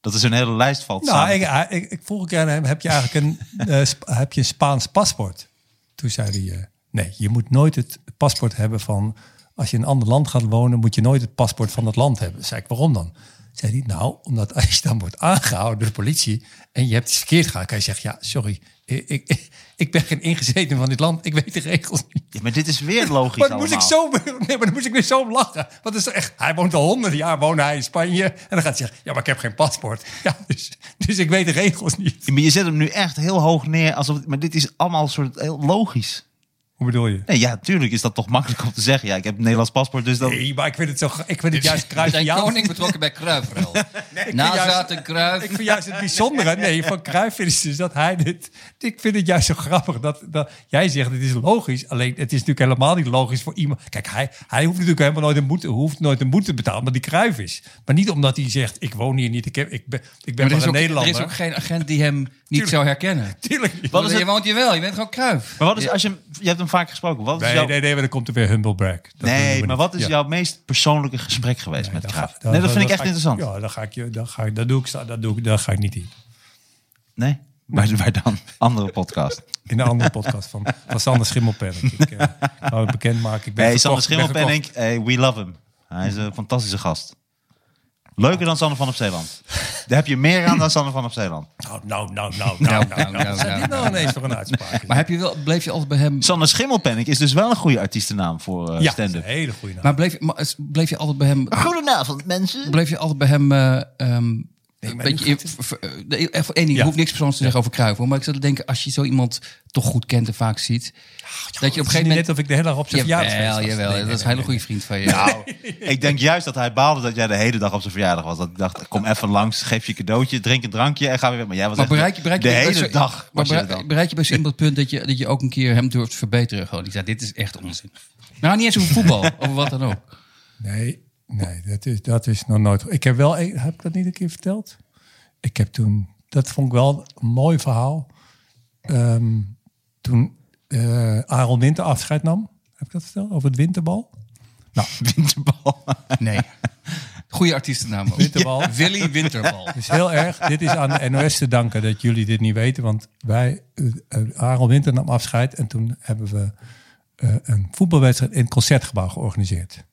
[SPEAKER 2] dat er zo'n hele lijst valt
[SPEAKER 3] Nou,
[SPEAKER 2] samen.
[SPEAKER 3] ik, hij- ik, ik vroeg een keer aan hem, heb je eigenlijk een, eh, Sp- heb je een Spaans paspoort? Toen zei hij, eh, nee, je moet nooit het paspoort hebben van... Als je in een ander land gaat wonen, moet je nooit het paspoort van dat land hebben. Zei ik, waarom dan? Zei hij, nou, omdat als je dan wordt aangehouden door de politie... en je hebt iets verkeerd gedaan, kan je zeggen, ja, sorry... Ik, ik, ik ben geen ingezetene van dit land. Ik weet de regels niet.
[SPEAKER 2] Ja, maar dit is weer
[SPEAKER 3] *laughs*
[SPEAKER 2] logisch
[SPEAKER 3] Maar dan, moest ik
[SPEAKER 2] allemaal.
[SPEAKER 3] zo, *laughs* nee, maar dan moest ik weer zo om lachen. Want het is echt, hij woont al honderd jaar woont hij in Spanje. En dan gaat hij zeggen, ja, maar ik heb geen paspoort. *laughs* Ja, dus, dus ik weet de regels niet.
[SPEAKER 2] Ja, maar je zet hem nu echt heel hoog neer. Alsof, het- maar dit is allemaal soort heel logisch.
[SPEAKER 3] Hoe bedoel je?
[SPEAKER 2] Nee, ja, natuurlijk is dat toch makkelijk om te zeggen. Ja, ik heb een Nederlands paspoort, dus dat...
[SPEAKER 3] Nee, maar ik vind het, zo, ik vind het juist
[SPEAKER 4] Er
[SPEAKER 3] kruis.
[SPEAKER 4] Dus zijn koning betrokken bij
[SPEAKER 3] *laughs*
[SPEAKER 4] Kruifrel. Nazaten Kruif.
[SPEAKER 3] Ik vind juist het bijzondere nee, van Cruijff is dus dat hij dit... Ik vind het juist zo grappig dat, dat jij zegt het is logisch. Alleen het is natuurlijk helemaal niet logisch voor iemand. Kijk, hij, hij hoeft natuurlijk helemaal nooit een boete, hoeft nooit een boete te betalen omdat hij Cruijff is. Maar niet omdat hij zegt ik woon hier niet, ik, heb, ik ben, ik ben
[SPEAKER 4] Maar
[SPEAKER 3] maar,
[SPEAKER 4] er is,
[SPEAKER 3] een
[SPEAKER 4] ook, er
[SPEAKER 3] Nederlander.
[SPEAKER 4] is ook geen agent die hem niet zou herkennen.
[SPEAKER 3] *laughs* Tuurlijk niet.
[SPEAKER 2] Wat is
[SPEAKER 4] je
[SPEAKER 2] het-
[SPEAKER 4] woont hier wel, je bent gewoon Kruif.
[SPEAKER 2] Maar wat is, als je, hem- je hebt hem vaak gesproken. Wat is
[SPEAKER 3] Nee,
[SPEAKER 2] jouw,
[SPEAKER 3] nee, nee, maar dan komt er weer humble brag. Dat doen we
[SPEAKER 2] nee,
[SPEAKER 3] niet.
[SPEAKER 2] maar wat is
[SPEAKER 3] Ja.
[SPEAKER 2] jouw meest persoonlijke gesprek geweest met
[SPEAKER 3] Dan
[SPEAKER 2] Cruijff?
[SPEAKER 3] ga- dan-
[SPEAKER 2] Nee, dat vind ik
[SPEAKER 3] dan
[SPEAKER 2] echt
[SPEAKER 3] ga
[SPEAKER 2] interessant.
[SPEAKER 3] Ja, dan ga ik je, dan ga ik, dat doe ik, sta- dat doe ik, daar ga ik niet in.
[SPEAKER 2] Nee? Waar, waar dan? Andere podcast.
[SPEAKER 3] In een andere podcast van, van Sander Schimmelpenning. Ik eh, wou het bekendmaken. Ik ben
[SPEAKER 2] Nee,
[SPEAKER 3] verkocht,
[SPEAKER 2] Sander
[SPEAKER 3] ik ben
[SPEAKER 2] Schimmelpenning, hey, we love him. Hij is een fantastische gast. Leuker dan Sander van op *laughs* Zeeland. Daar heb je meer aan dan Sander van op Zeeland.
[SPEAKER 3] verkocht. Nou, nou, nou, nou, nou, nou.
[SPEAKER 4] nou,
[SPEAKER 3] Wat zijn dit nou ineens voor een uitspraak?
[SPEAKER 4] Maar heb je wel, bleef je altijd bij hem...
[SPEAKER 2] Sander Schimmelpenning is dus wel een goede artiestennaam voor eh,
[SPEAKER 3] ja, dat is een
[SPEAKER 2] stand-up.
[SPEAKER 3] hele goede naam.
[SPEAKER 4] Maar bleef, je- maar bleef je altijd bij hem...
[SPEAKER 3] Oh,
[SPEAKER 2] Goedenavond, mensen.
[SPEAKER 4] Bleef je altijd bij hem... eh, ehm, een
[SPEAKER 3] maar
[SPEAKER 4] beetje,
[SPEAKER 3] nu
[SPEAKER 4] in- ver- eh, nee, even- één ding, je
[SPEAKER 3] Ja.
[SPEAKER 4] hoeft niks persoons te zeggen over Kruif. hoor, Maar ik zou denken, als je zo iemand toch goed kent en vaak ziet... dat je op een
[SPEAKER 3] Het is
[SPEAKER 4] gegeven
[SPEAKER 3] niet
[SPEAKER 4] moment...
[SPEAKER 3] net of ik de hele dag op zijn verjaardag
[SPEAKER 4] Jawel, jawel, dat is een hele goede vriend van je.
[SPEAKER 3] Nou,
[SPEAKER 2] Ik denk juist dat hij baalde dat jij de hele dag op zijn verjaardag was. Dat ik dacht, kom even langs, geef je cadeautje, drink een drankje en ga weer weg. Maar jij was
[SPEAKER 4] Maar
[SPEAKER 2] echt
[SPEAKER 4] bereik je, bereik je
[SPEAKER 2] de
[SPEAKER 4] bij
[SPEAKER 2] hele
[SPEAKER 4] zo-
[SPEAKER 2] dag.
[SPEAKER 4] Maar
[SPEAKER 2] was je
[SPEAKER 4] bereik,
[SPEAKER 2] er dan.
[SPEAKER 4] bereik je bij zo iemand het punt dat je, dat je ook een keer hem durft te verbeteren. Gewoon, die zei, dit is echt onzin. Nou, niet eens over
[SPEAKER 3] *laughs*
[SPEAKER 4] voetbal, over wat dan ook.
[SPEAKER 3] Nee, nee dat, is, dat is nog nooit. Ik heb wel, een- heb ik dat niet een keer verteld? Ik heb toen, dat vond ik wel een mooi verhaal. Ehm, toen eh Aaron Winter afscheid nam, heb ik dat verteld? Over het winterbal?
[SPEAKER 2] Winterbal.
[SPEAKER 4] Nee. Goede artiestennaam ook.
[SPEAKER 3] Winterbal.
[SPEAKER 4] *laughs*
[SPEAKER 3] *laughs*
[SPEAKER 4] Willy Winterbal.
[SPEAKER 3] Het is heel erg. Dit is aan de NOS te danken dat jullie dit niet weten. Want wij, eh, eh, Aaron Winter nam afscheid. En toen hebben we eh, een voetbalwedstrijd in het concertgebouw georganiseerd.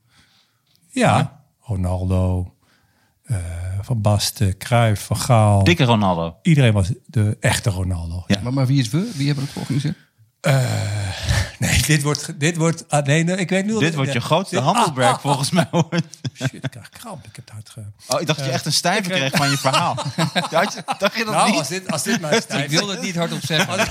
[SPEAKER 3] Ja, Ronaldo, eh, Van Basten, Cruijff, Van Gaal.
[SPEAKER 2] Dikke Ronaldo.
[SPEAKER 3] Iedereen was de echte Ronaldo.
[SPEAKER 2] Ja.
[SPEAKER 4] Maar, maar wie is we? Wie hebben dat georganiseerd?
[SPEAKER 3] Nee, dit wordt... ge- Dit wordt ah, nee, nee, ik weet nu al-
[SPEAKER 2] Dit wordt je
[SPEAKER 3] ja,
[SPEAKER 2] grootste
[SPEAKER 3] dit-
[SPEAKER 2] handelbreak *laughs*
[SPEAKER 3] ah,
[SPEAKER 2] volgens mij. hoor.
[SPEAKER 3] ah, shit, ik krijg kramp. Ik heb het hard ge...
[SPEAKER 2] Oh, ik dacht dat je echt een stijve kreeg van je *laughs* verhaal. Dacht je- dacht je dat
[SPEAKER 3] Nou,
[SPEAKER 2] niet? *laughs*
[SPEAKER 3] als dit, als dit mijn
[SPEAKER 4] Ik
[SPEAKER 3] stijf...
[SPEAKER 4] wilde het niet hardop *laughs* zeggen.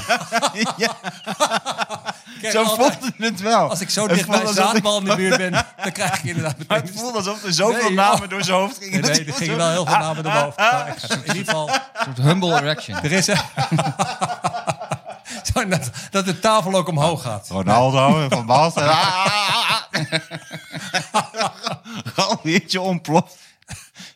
[SPEAKER 2] Zo
[SPEAKER 3] altijd-
[SPEAKER 2] voelde het wel.
[SPEAKER 3] Als ik zo
[SPEAKER 2] Het
[SPEAKER 3] dicht bij
[SPEAKER 2] voelde
[SPEAKER 3] een
[SPEAKER 2] alsof ik-
[SPEAKER 3] zaadbal in de
[SPEAKER 2] *laughs*
[SPEAKER 3] buurt ben, dan krijg ik inderdaad
[SPEAKER 2] Maar
[SPEAKER 3] meteen...
[SPEAKER 2] het voelde alsof er zoveel
[SPEAKER 3] Nee, oh.
[SPEAKER 2] namen door zijn hoofd gingen.
[SPEAKER 3] Nee, nee, er gingen wel heel veel namen door mijn hoofd. Maar ik ga- In ieder geval,
[SPEAKER 4] Een soort humble erection.
[SPEAKER 3] er is... *laughs* Zo, dat, dat de tafel ook omhoog gaat.
[SPEAKER 2] Ronaldo en Van Basten. *laughs*
[SPEAKER 3] *laughs*
[SPEAKER 2] Ah, ah, ah, ah. Gewoon een beetje ontploft.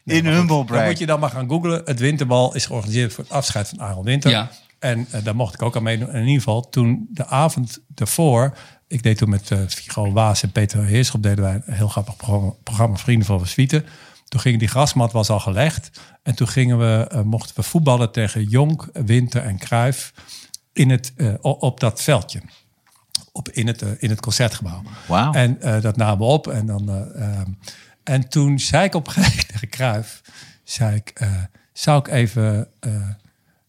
[SPEAKER 2] In
[SPEAKER 3] maar goed,
[SPEAKER 2] humble brag.
[SPEAKER 3] Dan moet je dan maar gaan googlen. Het winterbal is georganiseerd voor het afscheid van Aaron Winter.
[SPEAKER 4] Ja.
[SPEAKER 3] En eh, daar mocht ik ook aan meedoen. En in ieder geval, toen de avond ervoor... Ik deed toen met eh Figo Waas en Peter Heerschop... deden wij een heel grappig programma, programma Vrienden van Verswieten. Toen ging die grasmat was al gelegd. En toen gingen we, eh, mochten we voetballen tegen Jonk, Winter en Kruif... In het, eh, o- op dat veldje op, in, het, eh, in het concertgebouw.
[SPEAKER 2] Wauw.
[SPEAKER 3] En eh, dat namen we op. En, dan, eh, ehm, en toen zei ik op een gegeven moment *laughs* tegen Kruif, zei ik, eh, zou ik even eh,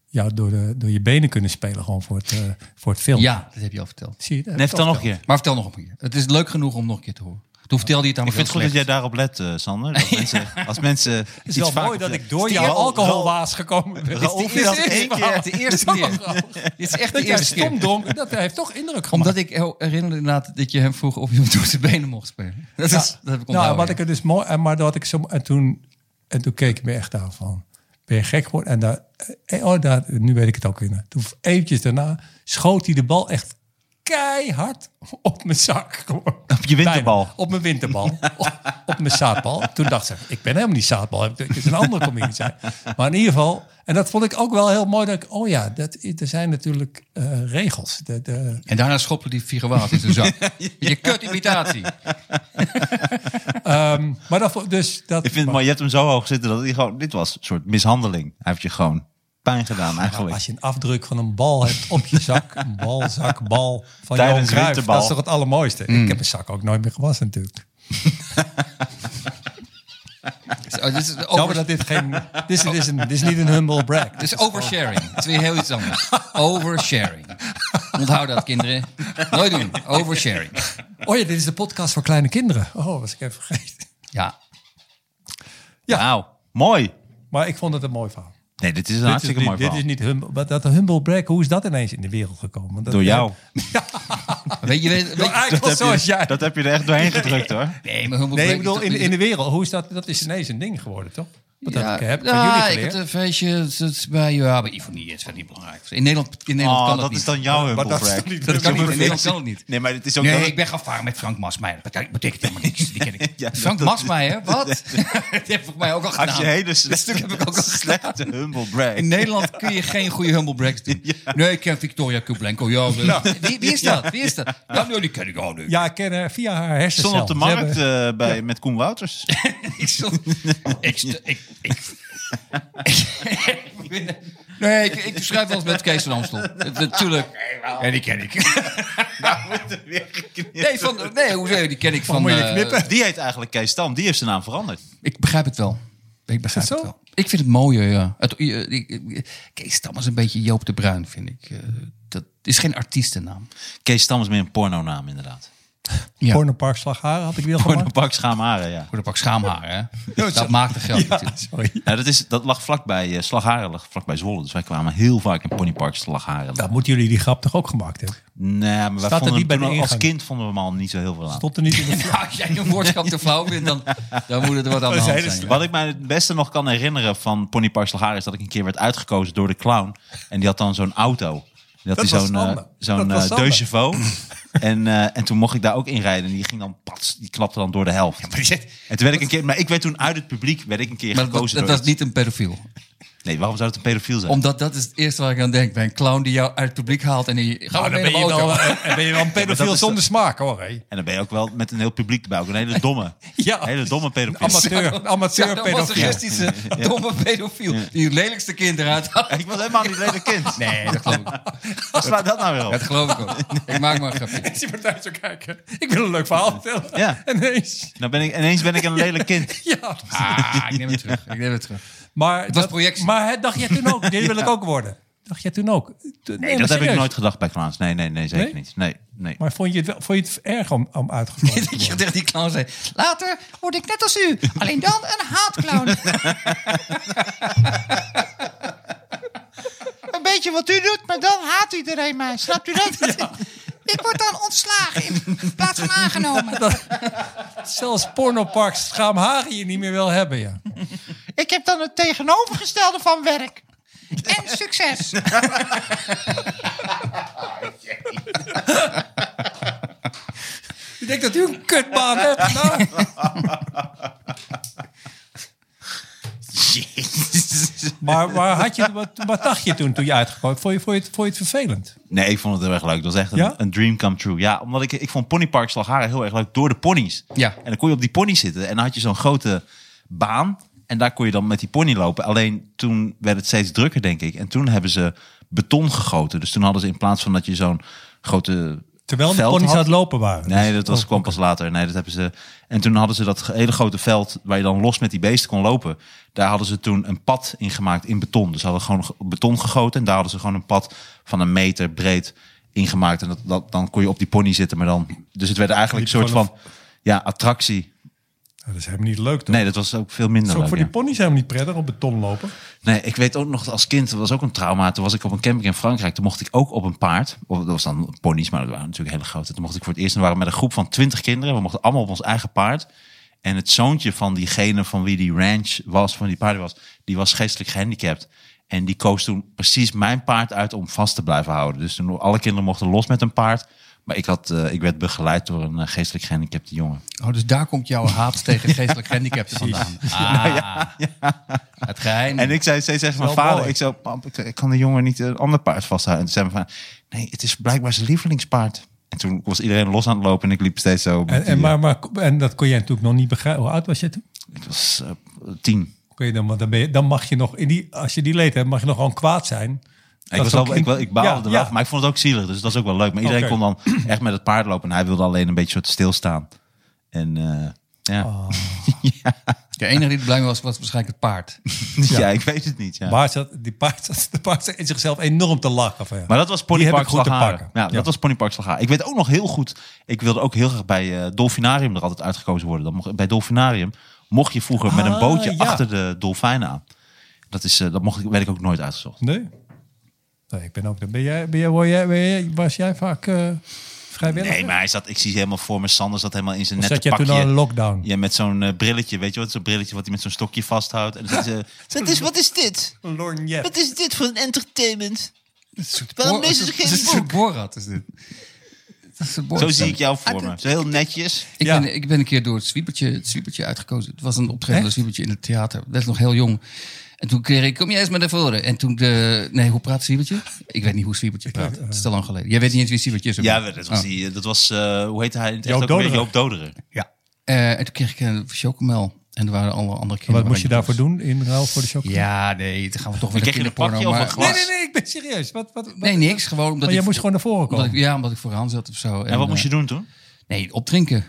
[SPEAKER 3] jou door, de, door je benen kunnen spelen gewoon voor het, eh, voor het filmen?
[SPEAKER 4] Ja, dat heb je al verteld.
[SPEAKER 3] Zie je? dat heb
[SPEAKER 2] Nee,
[SPEAKER 3] ik al
[SPEAKER 2] vertel nog een
[SPEAKER 3] verteld.
[SPEAKER 2] keer.
[SPEAKER 4] Maar vertel nog een keer. Het is leuk genoeg om nog een keer te horen. Toen vertelde je het aan
[SPEAKER 2] Ik
[SPEAKER 4] me
[SPEAKER 2] vind het
[SPEAKER 4] heel
[SPEAKER 2] goed dat jij
[SPEAKER 4] slecht.
[SPEAKER 2] daarop let, eh, Sander.
[SPEAKER 3] *laughs*
[SPEAKER 2] Dat mensen, als mensen
[SPEAKER 3] Het
[SPEAKER 2] iets
[SPEAKER 3] is wel mooi
[SPEAKER 2] vaker
[SPEAKER 3] dat ik
[SPEAKER 2] vertellen.
[SPEAKER 3] door
[SPEAKER 2] Is die
[SPEAKER 3] jouw
[SPEAKER 2] al-
[SPEAKER 3] alcoholwaas gekomen ben.
[SPEAKER 2] Raoul
[SPEAKER 3] Dit
[SPEAKER 2] viel als
[SPEAKER 3] is-
[SPEAKER 2] één
[SPEAKER 3] dit is-
[SPEAKER 2] keer.
[SPEAKER 4] Ja, de eerste keer.
[SPEAKER 3] *laughs*
[SPEAKER 4] Dit is echt de
[SPEAKER 3] Dat jij
[SPEAKER 4] eerste
[SPEAKER 3] stom
[SPEAKER 4] keer.
[SPEAKER 3] dronken, dat heeft toch indruk gemaakt.
[SPEAKER 4] Omdat ik heel- herinnerde inderdaad dat je hem vroeg of je hem door zijn benen mocht spelen. *laughs* Dat, is,
[SPEAKER 3] Ja.
[SPEAKER 4] dat heb ik
[SPEAKER 3] nou,
[SPEAKER 4] onthouden.
[SPEAKER 3] wat ik er dus mooi en maar dat ik zo en toen en toen keek ik me echt aan van ben je gek geworden en daar eh, oh daar nu weet ik het ook weer. Toen eventjes daarna schoot hij de bal echt keihard op mijn zak gewoon.
[SPEAKER 2] Op je winterbal.
[SPEAKER 3] Bijna. op mijn winterbal op, op mijn zaadbal. Toen dacht ze ik ben helemaal niet zaadbal, het is een andere comedie zijn. Maar in ieder geval en dat vond ik ook wel heel mooi dat ik oh ja, dat er zijn natuurlijk eh, regels. eh, De, de,
[SPEAKER 4] En daarna schoppelde die figuaat in zijn
[SPEAKER 3] *laughs*
[SPEAKER 4] zak. Je kut imitatie. Dus,
[SPEAKER 3] ehm, maar dat vo- dus dat
[SPEAKER 2] Ik vind het mooi, je hebt hem zo hoog zitten dat hij gewoon... Dit was een soort mishandeling. Hij heeft je gewoon pijn gedaan eigenlijk.
[SPEAKER 3] Als je een afdruk van een bal hebt op je
[SPEAKER 2] *laughs*
[SPEAKER 3] zak, een bal, zak, bal van
[SPEAKER 2] Tijdens
[SPEAKER 3] Johan Cruijff,
[SPEAKER 2] winterbal. Mm.
[SPEAKER 3] dat is toch het allermooiste. Ik heb een zak ook nooit meer gewassen natuurlijk.
[SPEAKER 4] Zo, oh, dit is,
[SPEAKER 3] Jammer
[SPEAKER 4] over,
[SPEAKER 3] dat dit geen, dit is, dit is, een, dit is niet een humble brag. Dus-
[SPEAKER 4] dit is oversharing. Het is weer heel iets anders. Oversharing. Onthoud dat, kinderen. Nooit doen. Oversharing.
[SPEAKER 3] Oh ja, dit is de podcast voor kleine kinderen. Oh, was ik even vergeten.
[SPEAKER 4] Ja.
[SPEAKER 2] ja. Wauw, mooi.
[SPEAKER 3] Maar ik vond het een mooi verhaal.
[SPEAKER 2] Nee, dit is een
[SPEAKER 3] dit, is
[SPEAKER 2] Nou, hartstikke
[SPEAKER 3] niet,
[SPEAKER 2] mooi
[SPEAKER 3] dit
[SPEAKER 2] verhaal.
[SPEAKER 3] is niet humble, maar dat humble brag, hoe is dat ineens in de wereld gekomen? Want dat-
[SPEAKER 2] Door jou.
[SPEAKER 4] Weet je, weet, weet-
[SPEAKER 3] Door eigenlijk
[SPEAKER 2] Dat heb,
[SPEAKER 3] zoals
[SPEAKER 2] je, dus-
[SPEAKER 3] jij.
[SPEAKER 2] dat heb je er echt doorheen gedrukt hoor. Oh,
[SPEAKER 4] nee, maar humble
[SPEAKER 3] nee, ik
[SPEAKER 4] break
[SPEAKER 3] bedoel,
[SPEAKER 4] is
[SPEAKER 3] in,
[SPEAKER 4] toch-
[SPEAKER 3] in de wereld, hoe is dat? Dat is ineens een ding geworden, toch? Want dat
[SPEAKER 4] ja,
[SPEAKER 3] heb ik heb van
[SPEAKER 4] ja,
[SPEAKER 3] jullie
[SPEAKER 4] ik
[SPEAKER 3] geleerd.
[SPEAKER 4] had een feestje het is bij, ja, bij Ivonie. Het is wel niet belangrijk. In Nederland, in Nederland
[SPEAKER 2] Oh,
[SPEAKER 4] kan
[SPEAKER 2] dat
[SPEAKER 4] dat
[SPEAKER 2] is
[SPEAKER 4] niet.
[SPEAKER 2] dan jouw humble
[SPEAKER 3] maar dat is
[SPEAKER 2] brag.
[SPEAKER 3] toch niet-
[SPEAKER 4] dat kan niet. In
[SPEAKER 2] Nee,
[SPEAKER 4] Nederland kan het niet.
[SPEAKER 2] Nee, maar het is ook...
[SPEAKER 4] Nee,
[SPEAKER 2] wel-
[SPEAKER 4] ik ben gaan varen met Frank Masmeijer. Dat betekent helemaal niks. Die ken ik.
[SPEAKER 2] *laughs* Ja,
[SPEAKER 4] Frank
[SPEAKER 2] dat- *laughs*
[SPEAKER 4] Masmeijer? Wat? dat *laughs* heeft voor mij ook al gedaan.
[SPEAKER 2] Als je hele
[SPEAKER 4] Dat stuk heb ik ook al
[SPEAKER 2] slechte, slechte humble brag.
[SPEAKER 4] In Nederland kun je geen goede humble breaks
[SPEAKER 2] *laughs*
[SPEAKER 4] doen. Nee, ik ken Victoria Kublenko. Ja, wie, wie is dat? Wie is dat? Ja, nee, die ken ik al nu.
[SPEAKER 3] Ja, ik ken haar via haar
[SPEAKER 2] Ik
[SPEAKER 3] hersencel.
[SPEAKER 2] stond op de
[SPEAKER 3] Ze
[SPEAKER 2] markt
[SPEAKER 3] hebben-
[SPEAKER 2] eh, bij, met Koen Wouters.
[SPEAKER 4] *laughs* Ik stond... Ik, st- ik, ik, *laughs* nee, ik, ik schrijf wel eens met Kees van Amstel. Natuurlijk. Ja, die ken ik. *laughs* Nee, van, nee hoezo? Die ken ik van...
[SPEAKER 3] moet je
[SPEAKER 4] eh,
[SPEAKER 3] knippen?
[SPEAKER 2] Die heet eigenlijk Kees Stam. Die heeft zijn naam veranderd.
[SPEAKER 4] Ik begrijp het wel. Ik begrijp
[SPEAKER 3] Is het
[SPEAKER 4] het
[SPEAKER 3] zo?
[SPEAKER 4] wel. Ik vind het mooier, ja. Het, eh, ik- ik- Kees Stam is een beetje Joop de Bruin, vind ik. Eh, Dat is geen artiestennaam.
[SPEAKER 2] Kees Stam is meer een pornonaam inderdaad.
[SPEAKER 4] Ja.
[SPEAKER 3] Pornopark Slagharen had ik weer gemaakt.
[SPEAKER 2] Pornopak schaamharen, ja.
[SPEAKER 4] Voor een pak
[SPEAKER 3] *laughs*
[SPEAKER 4] schaamhaar, hè? Dat maakt de geld
[SPEAKER 3] Ja,
[SPEAKER 4] *laughs* natuurlijk.
[SPEAKER 3] sorry.
[SPEAKER 2] Ja, dat, is, dat lag vlakbij eh, Slagharen, lag vlakbij Zwolle. Dus wij kwamen heel vaak in ponypark Slagharen.
[SPEAKER 3] Dat Nou, moeten jullie die grap toch ook gemaakt hebben?
[SPEAKER 2] Nee, maar wij
[SPEAKER 3] er
[SPEAKER 2] vonden
[SPEAKER 3] niet bij
[SPEAKER 2] hem
[SPEAKER 3] de
[SPEAKER 2] toen- als
[SPEAKER 3] ingang?
[SPEAKER 2] kind vonden we hem al niet zo heel veel aan.
[SPEAKER 3] Stond er niet *laughs* in de
[SPEAKER 4] Nou, als jij een woordschap te flauw vindt, dan, dan moet het er wat aan
[SPEAKER 3] *laughs* Dat
[SPEAKER 4] de
[SPEAKER 3] is
[SPEAKER 4] hand
[SPEAKER 3] hele
[SPEAKER 4] zijn.
[SPEAKER 2] dus Wat ik mij het beste nog kan herinneren van ponypark Slagharen... is dat ik een keer werd uitgekozen door de clown. En die had dan zo'n auto. Die had
[SPEAKER 3] Dat
[SPEAKER 2] die
[SPEAKER 3] was
[SPEAKER 2] zo'n eh,
[SPEAKER 3] Sander. Dat
[SPEAKER 2] zo'n
[SPEAKER 3] was
[SPEAKER 2] eh,
[SPEAKER 3] Sander.
[SPEAKER 2] Deux Chevaux. *laughs* En, eh, en toen mocht ik daar ook inrijden. En die ging dan, pats, die klapte dan door de helft.
[SPEAKER 4] Maar, je-
[SPEAKER 2] En toen werd ik een keer, maar ik werd toen uit het publiek werd ik een keer
[SPEAKER 4] maar dat,
[SPEAKER 2] gekozen.
[SPEAKER 4] dat
[SPEAKER 2] door
[SPEAKER 4] was niet een pedofiel.
[SPEAKER 2] iets. Nee, waarom zou het een pedofiel zijn?
[SPEAKER 4] Omdat dat is het eerste waar ik aan denk. Bij een clown die jou uit het publiek haalt en die... Ga
[SPEAKER 3] Nou,
[SPEAKER 4] maar
[SPEAKER 3] dan
[SPEAKER 4] mee
[SPEAKER 3] ben
[SPEAKER 4] naar
[SPEAKER 3] je,
[SPEAKER 4] de auto.
[SPEAKER 3] *laughs* wel, eh, dan ben je wel een
[SPEAKER 2] dat
[SPEAKER 3] pedofiel
[SPEAKER 2] is
[SPEAKER 3] zonder smaak hoor. Hé.
[SPEAKER 2] En dan ben je ook wel met een heel publiek erbij. Ook een hele
[SPEAKER 4] *laughs*
[SPEAKER 2] domme,
[SPEAKER 3] Ja.
[SPEAKER 2] een hele *laughs* domme pedofiel.
[SPEAKER 3] Amateur, amateur
[SPEAKER 4] *laughs* Ja, dat was een
[SPEAKER 3] pedofiel.
[SPEAKER 4] racistische, domme pedofiel. Die het lelijkste kind eruit haalt.
[SPEAKER 2] Ik was helemaal niet een lelijk kind.
[SPEAKER 4] Nee, dat
[SPEAKER 3] *laughs*
[SPEAKER 4] geloof ik.
[SPEAKER 2] *laughs* Wat slaat dat nou weer
[SPEAKER 4] Dat
[SPEAKER 2] op?
[SPEAKER 4] geloof ik ook. Ik maak maar een grapje.
[SPEAKER 3] Ik zie partij zo kijken. Ik wil een leuk verhaal vertellen.
[SPEAKER 2] Ja.
[SPEAKER 3] *laughs* En eens.
[SPEAKER 2] Nou ben ik, ineens ben ik een lelijk kind.
[SPEAKER 3] Ja.
[SPEAKER 4] Ah, ik neem het terug. Ik neem het terug.
[SPEAKER 3] *laughs* Maar het
[SPEAKER 4] was projectie.
[SPEAKER 3] Maar hè, dacht jij toen ook? Dit wil ik ook worden. Dacht jij toen ook? Nee,
[SPEAKER 2] dat
[SPEAKER 3] maar
[SPEAKER 2] heb ik
[SPEAKER 3] serieus.
[SPEAKER 2] nooit gedacht bij clowns. Nee, nee, nee, zeker
[SPEAKER 3] Nee?
[SPEAKER 2] niet. Nee, nee.
[SPEAKER 3] Maar vond je het, wel, vond je het erg om, om
[SPEAKER 4] *laughs*
[SPEAKER 3] uitgevallen te
[SPEAKER 4] Dat je
[SPEAKER 3] worden?
[SPEAKER 4] tegen die clown zei... Later word ik net als u. Alleen dan een haatclown.
[SPEAKER 5] *laughs* Een beetje wat u doet, maar dan haat iedereen mij. Snapt u dat? Ik word dan ontslagen in plaats van aangenomen.
[SPEAKER 3] Zelfs pornopark schaamhagen je niet meer wil hebben. Ja.
[SPEAKER 5] Ik heb dan het tegenovergestelde van werk. En succes.
[SPEAKER 3] Ik denk dat u een kutbaan hebt. Nou.
[SPEAKER 2] Jezus.
[SPEAKER 3] Maar, maar had je, wat, wat dacht je toen, toen je uitgegooid? Vond je, vond, je het, vond je het vervelend?
[SPEAKER 2] Nee, ik vond het heel erg leuk. Dat was echt een,
[SPEAKER 3] Ja?
[SPEAKER 2] een dream come true. Ja, omdat ik, ik vond Ponypark Slagharen heel erg leuk door de ponies.
[SPEAKER 4] Ja.
[SPEAKER 2] En dan kon je op die pony zitten en dan had je zo'n grote baan. En daar kon je dan met die pony lopen. Alleen toen werd het steeds drukker, denk ik. En toen hebben ze beton gegoten. Dus toen hadden ze in plaats van dat je zo'n grote
[SPEAKER 3] Terwijl de
[SPEAKER 2] veld
[SPEAKER 3] ponies
[SPEAKER 2] had-
[SPEAKER 3] aan het lopen waren.
[SPEAKER 2] Nee,
[SPEAKER 3] Dus-
[SPEAKER 2] dat was,
[SPEAKER 3] oh,
[SPEAKER 2] kwam pas later. Nee, dat hebben ze... En toen hadden ze dat ge- hele grote veld waar je dan los met die beesten kon lopen. Daar hadden ze toen een pad in gemaakt in beton. Dus ze hadden gewoon ge- beton gegoten en daar hadden ze gewoon een pad van een meter breed ingemaakt. En dat, dat, dan kon je op die pony zitten, maar dan... Dus het werd eigenlijk een
[SPEAKER 3] Liep
[SPEAKER 2] soort
[SPEAKER 3] gewoon
[SPEAKER 2] van ja, attractie.
[SPEAKER 3] nou, dat is helemaal niet leuk. Toch?
[SPEAKER 2] Nee, dat was ook veel minder
[SPEAKER 3] dat is ook
[SPEAKER 2] leuk,
[SPEAKER 3] voor
[SPEAKER 2] ja.
[SPEAKER 3] die ponies helemaal niet prettig op beton lopen.
[SPEAKER 2] Nee, ik weet ook nog als kind, dat was ook een trauma. Toen was ik op een camping in Frankrijk. Toen mocht ik ook op een paard. Of dat was dan ponies, maar dat waren natuurlijk hele grote. Toen mocht ik voor het eerst. En we waren met een groep van twintig kinderen. We mochten allemaal op ons eigen paard. En het zoontje van diegene van wie die ranch was, van die paarden was, die was geestelijk gehandicapt. En die koos toen precies mijn paard uit om vast te blijven houden. Dus toen alle kinderen mochten los met een paard. Maar ik, had, eh, ik werd begeleid door een eh, geestelijk gehandicapte jongen.
[SPEAKER 4] Oh, dus daar komt jouw haat tegen geestelijk gehandicapten vandaan. Ah, Het geheim.
[SPEAKER 2] En ik zei steeds tegen mijn
[SPEAKER 3] Wel mooi.
[SPEAKER 2] vader, ik zei, pap, ik, ik kan de jongen niet een ander paard vasthouden. En toen zei mijn vader, nee, het is blijkbaar zijn lievelingspaard. En toen was iedereen los aan het lopen en ik liep steeds zo. met
[SPEAKER 3] En, en,
[SPEAKER 2] die,
[SPEAKER 3] maar, maar, en dat kon jij natuurlijk nog niet begrijpen. Hoe oud was je toen?
[SPEAKER 2] eh, Ik was eh, tien.
[SPEAKER 3] Kun je dan, want dan, ben je, dan mag je nog, in die, als je die leed hebt, mag je nog gewoon kwaad zijn.
[SPEAKER 2] Ik, was al, ik, wa- ik baalde er wel van, maar ik vond het ook zielig. Dus dat is ook wel leuk. Maar iedereen
[SPEAKER 3] Oké.
[SPEAKER 2] kon dan *clears throat* echt met het paard lopen. En hij wilde alleen een beetje soort stilstaan. En eh, ja.
[SPEAKER 3] Oh.
[SPEAKER 4] De enige die er blij mee was, was waarschijnlijk het paard.
[SPEAKER 2] *laughs* ja. ik weet het niet. Ja.
[SPEAKER 3] Maar zat, die paard zat, de paard zat in zichzelf enorm te lachen. Van, ja.
[SPEAKER 2] Maar dat was
[SPEAKER 3] Die heb
[SPEAKER 2] Ponypark
[SPEAKER 3] ik goed te
[SPEAKER 2] Slagharen.
[SPEAKER 3] pakken.
[SPEAKER 2] Ja,
[SPEAKER 3] Ja.
[SPEAKER 2] dat was Ponypark Slagharen. Ik weet ook nog heel goed... Ik wilde ook heel graag bij eh Dolfinarium er altijd uitgekozen worden. Dan mocht, bij Dolfinarium mocht je vroeger met een
[SPEAKER 3] Ah,
[SPEAKER 2] bootje
[SPEAKER 3] ja.
[SPEAKER 2] achter de dolfijnen aan. Dat, is, eh, dat mocht, ik- werd ik ook nooit uitgezocht.
[SPEAKER 3] Nee. nee ik ben ook... Ben jij, ben jij, word jij, ben jij- was jij vaak eh vrijwillig?
[SPEAKER 2] Nee, maar hij zat, ik zie helemaal voor me. Sander zat helemaal in zijn
[SPEAKER 3] Of
[SPEAKER 2] nette
[SPEAKER 3] zat je
[SPEAKER 2] pakje.
[SPEAKER 3] toen al in lockdown?
[SPEAKER 2] ja, met zo'n eh, brilletje, weet je wat? Zo'n brilletje wat hij met zo'n stokje vasthoudt. En dan
[SPEAKER 3] *laughs*
[SPEAKER 2] zit eh, ze, "Wat is, wat is dit?
[SPEAKER 3] Een
[SPEAKER 5] Wat is dit voor een entertainment?
[SPEAKER 4] Boor-
[SPEAKER 5] Waarom lezen ze
[SPEAKER 4] het is-
[SPEAKER 5] geen
[SPEAKER 4] het is
[SPEAKER 5] boek?
[SPEAKER 4] een boorrat, is dit. Het is een boorrat.
[SPEAKER 2] Zo zie ik jou voor me. Zo heel netjes.
[SPEAKER 4] Ik,
[SPEAKER 3] Ja.
[SPEAKER 4] ben, ik ben een keer door het zwiepertje, het zwiepertje uitgekozen. Het was een optreden van het zwiepertje in het theater. Ik was nog heel jong. En toen kreeg ik, kom jij eens maar naar voren. En toen de... Nee, hoe praat zwiepertje? Ik weet niet hoe zwiepertje praat. Het is te lang geleden. Jij weet niet eens wie zwiepertje is. ook
[SPEAKER 2] Ja,
[SPEAKER 4] niet.
[SPEAKER 2] dat was,
[SPEAKER 4] Oh.
[SPEAKER 2] die, dat was eh, hoe heette hij? in het echt
[SPEAKER 3] Ah. Joop
[SPEAKER 2] ook alweer?
[SPEAKER 3] Doderer.
[SPEAKER 2] Joop Doderen.
[SPEAKER 4] Eh, en toen kreeg ik een chocomel. En er waren alle andere kinderen.
[SPEAKER 3] Wat moest je daarvoor
[SPEAKER 4] waren
[SPEAKER 3] doen in ruil voor de chocolade?
[SPEAKER 4] Ja, nee, dan gaan we toch weer
[SPEAKER 2] kreeg je een
[SPEAKER 4] kinderporno,
[SPEAKER 2] pakje of
[SPEAKER 4] maar-
[SPEAKER 2] een glas?
[SPEAKER 3] Nee, nee, nee, ik ben serieus. Wat, wat, wat-
[SPEAKER 4] Nee, niks. Gewoon omdat
[SPEAKER 3] Maar Oh, jij
[SPEAKER 4] ik...
[SPEAKER 3] moest gewoon naar voren
[SPEAKER 4] omdat
[SPEAKER 3] komen.
[SPEAKER 4] ik, ja, omdat ik vooraan zat of zo.
[SPEAKER 2] En wat moest je
[SPEAKER 4] eh,
[SPEAKER 2] doen toen?
[SPEAKER 4] Nee, opdrinken.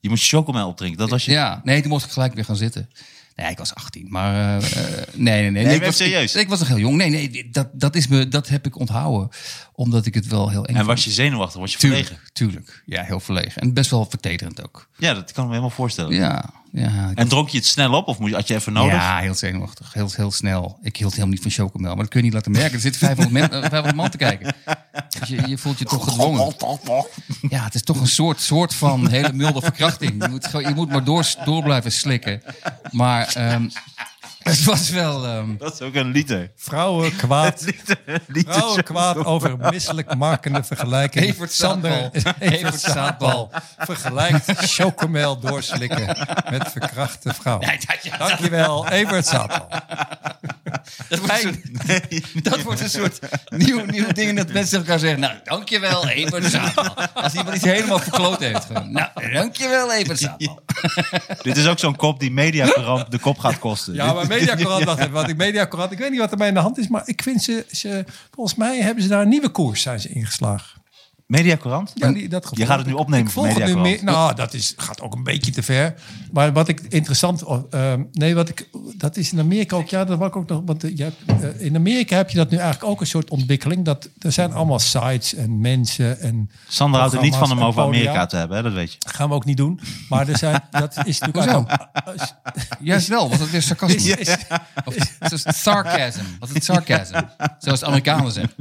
[SPEAKER 2] Je moest chocomel opdrinken. Dat was je
[SPEAKER 4] Ja, nee, toen mocht ik gelijk weer gaan zitten. Nee, ik was 18, maar eh, eh, nee, nee, nee.
[SPEAKER 2] maar
[SPEAKER 4] ik, was,
[SPEAKER 2] serieus?
[SPEAKER 4] Ik, ik was nog heel jong. Nee, nee, dat, dat, is me, dat heb ik onthouden. Omdat ik het wel heel eng
[SPEAKER 2] En
[SPEAKER 4] vond.
[SPEAKER 2] was je zenuwachtig? Was je verlegen?
[SPEAKER 4] Tuurlijk, tuurlijk. Ja, heel verlegen. En best wel vertederend ook.
[SPEAKER 2] Ja, dat kan ik me helemaal voorstellen.
[SPEAKER 4] Ja, ja. ik-
[SPEAKER 2] En dronk je het snel op of moest je, had je even nodig?
[SPEAKER 4] Ja, heel zenuwachtig. Heel, heel snel. Ik hield helemaal niet van chocomel. Maar dat kun je niet laten merken. Er zitten 500, men, eh, 500 man te kijken. Dus je, je voelt je toch gedwongen. Ja, het is toch een soort, soort van hele milde verkrachting. Je moet, gewoon- je moet maar door, door blijven slikken. Maar ehm, het was wel... ehm,
[SPEAKER 2] Dat is ook een liter.
[SPEAKER 3] Vrouwen kwaad.
[SPEAKER 2] liter
[SPEAKER 3] Vrouwen kwaad over misselijk makende vergelijking.
[SPEAKER 4] Evert
[SPEAKER 3] Sander
[SPEAKER 4] Zaadbal.
[SPEAKER 3] Evert Zaadbal vergelijkt chocomel doorslikken met verkrachte vrouwen.
[SPEAKER 4] Nee, dat- ja, dat-
[SPEAKER 3] Dankjewel, Evert Zaadbal.
[SPEAKER 4] dat, wordt een soort, *laughs* dat wordt een soort nieuw, nieuw ding dat mensen tegen elkaar zeggen. Nou, dankjewel, Evert Zaadbal. Als iemand iets helemaal verkloot heeft. Gewoon, nou, dankjewel, Evert Zaadbal.
[SPEAKER 2] Dit is ook zo'n kop die Mediacorant de kop gaat kosten.
[SPEAKER 3] *laughs* Ja, maar Mediacorant, dacht ik, want ik Mediacorant, ik weet niet wat er mij in de hand is, maar ik vind ze, ze volgens mij hebben ze daar een nieuwe koers zijn ze ingeslagen.
[SPEAKER 2] Mediacorant?
[SPEAKER 3] Ja, die- dat gevoel
[SPEAKER 2] Je gaat het
[SPEAKER 3] heb
[SPEAKER 2] nu
[SPEAKER 3] ik.
[SPEAKER 2] opnemen
[SPEAKER 3] Ik
[SPEAKER 2] voor
[SPEAKER 3] volg het nu
[SPEAKER 2] Mediacorant.
[SPEAKER 3] meer- nou, dat is, gaat ook een beetje te ver. Maar wat ik interessant... eh, nee, wat ik, dat is in Amerika ook... Ja, dat wou ik ook nog... Want eh, je hebt, eh, in Amerika heb je dat nu eigenlijk ook een soort ontwikkeling. Dat, er zijn allemaal sites en mensen en...
[SPEAKER 2] Sander houdt er niet van
[SPEAKER 3] programma's
[SPEAKER 2] om
[SPEAKER 3] en
[SPEAKER 2] over
[SPEAKER 3] podia.
[SPEAKER 2] Amerika te hebben, hè? dat weet je.
[SPEAKER 3] Dat gaan we ook niet doen. Maar er zijn, dat is natuurlijk...
[SPEAKER 4] Hoezo?
[SPEAKER 3] eigenlijk-
[SPEAKER 4] Juist wel, want het is sarcasme.
[SPEAKER 3] Is, is,
[SPEAKER 4] Of het is sarcasm. Wat is het sarcasm? Zoals de Amerikanen zeggen.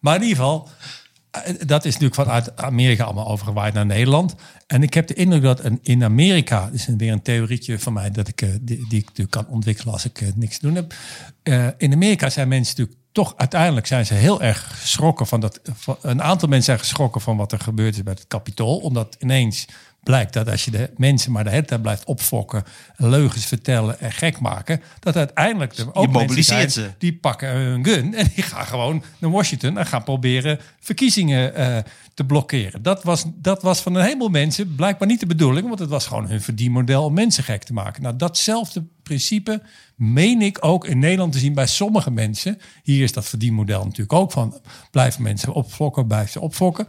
[SPEAKER 3] Maar in ieder geval, eh, dat is natuurlijk vanuit Amerika allemaal overgewaaid naar Nederland. En ik heb de indruk dat een, in Amerika, dit is een- weer een theorietje van mij, dat ik, eh, die, die ik natuurlijk kan ontwikkelen als ik eh, niks te doen heb. Eh, in Amerika zijn mensen natuurlijk toch uiteindelijk zijn ze heel erg geschrokken van dat. van- een aantal mensen zijn geschrokken van wat er gebeurd is bij het Capitool, omdat ineens blijkt dat als je de mensen maar de hele tijd blijft opfokken, leugens vertellen en gek maken, dat uiteindelijk er ook mensen zijn
[SPEAKER 2] mobiliseert ze.
[SPEAKER 3] eh, die pakken hun gun en die gaan gewoon naar Washington en gaan proberen verkiezingen eh, te blokkeren. Dat was, dat was van een heleboel mensen blijkbaar niet de bedoeling, want het was gewoon hun verdienmodel om mensen gek te maken. Nou, datzelfde principe meen ik ook in Nederland te zien bij sommige mensen. Hier is dat verdienmodel natuurlijk ook van blijven mensen opfokken, blijven ze opfokken.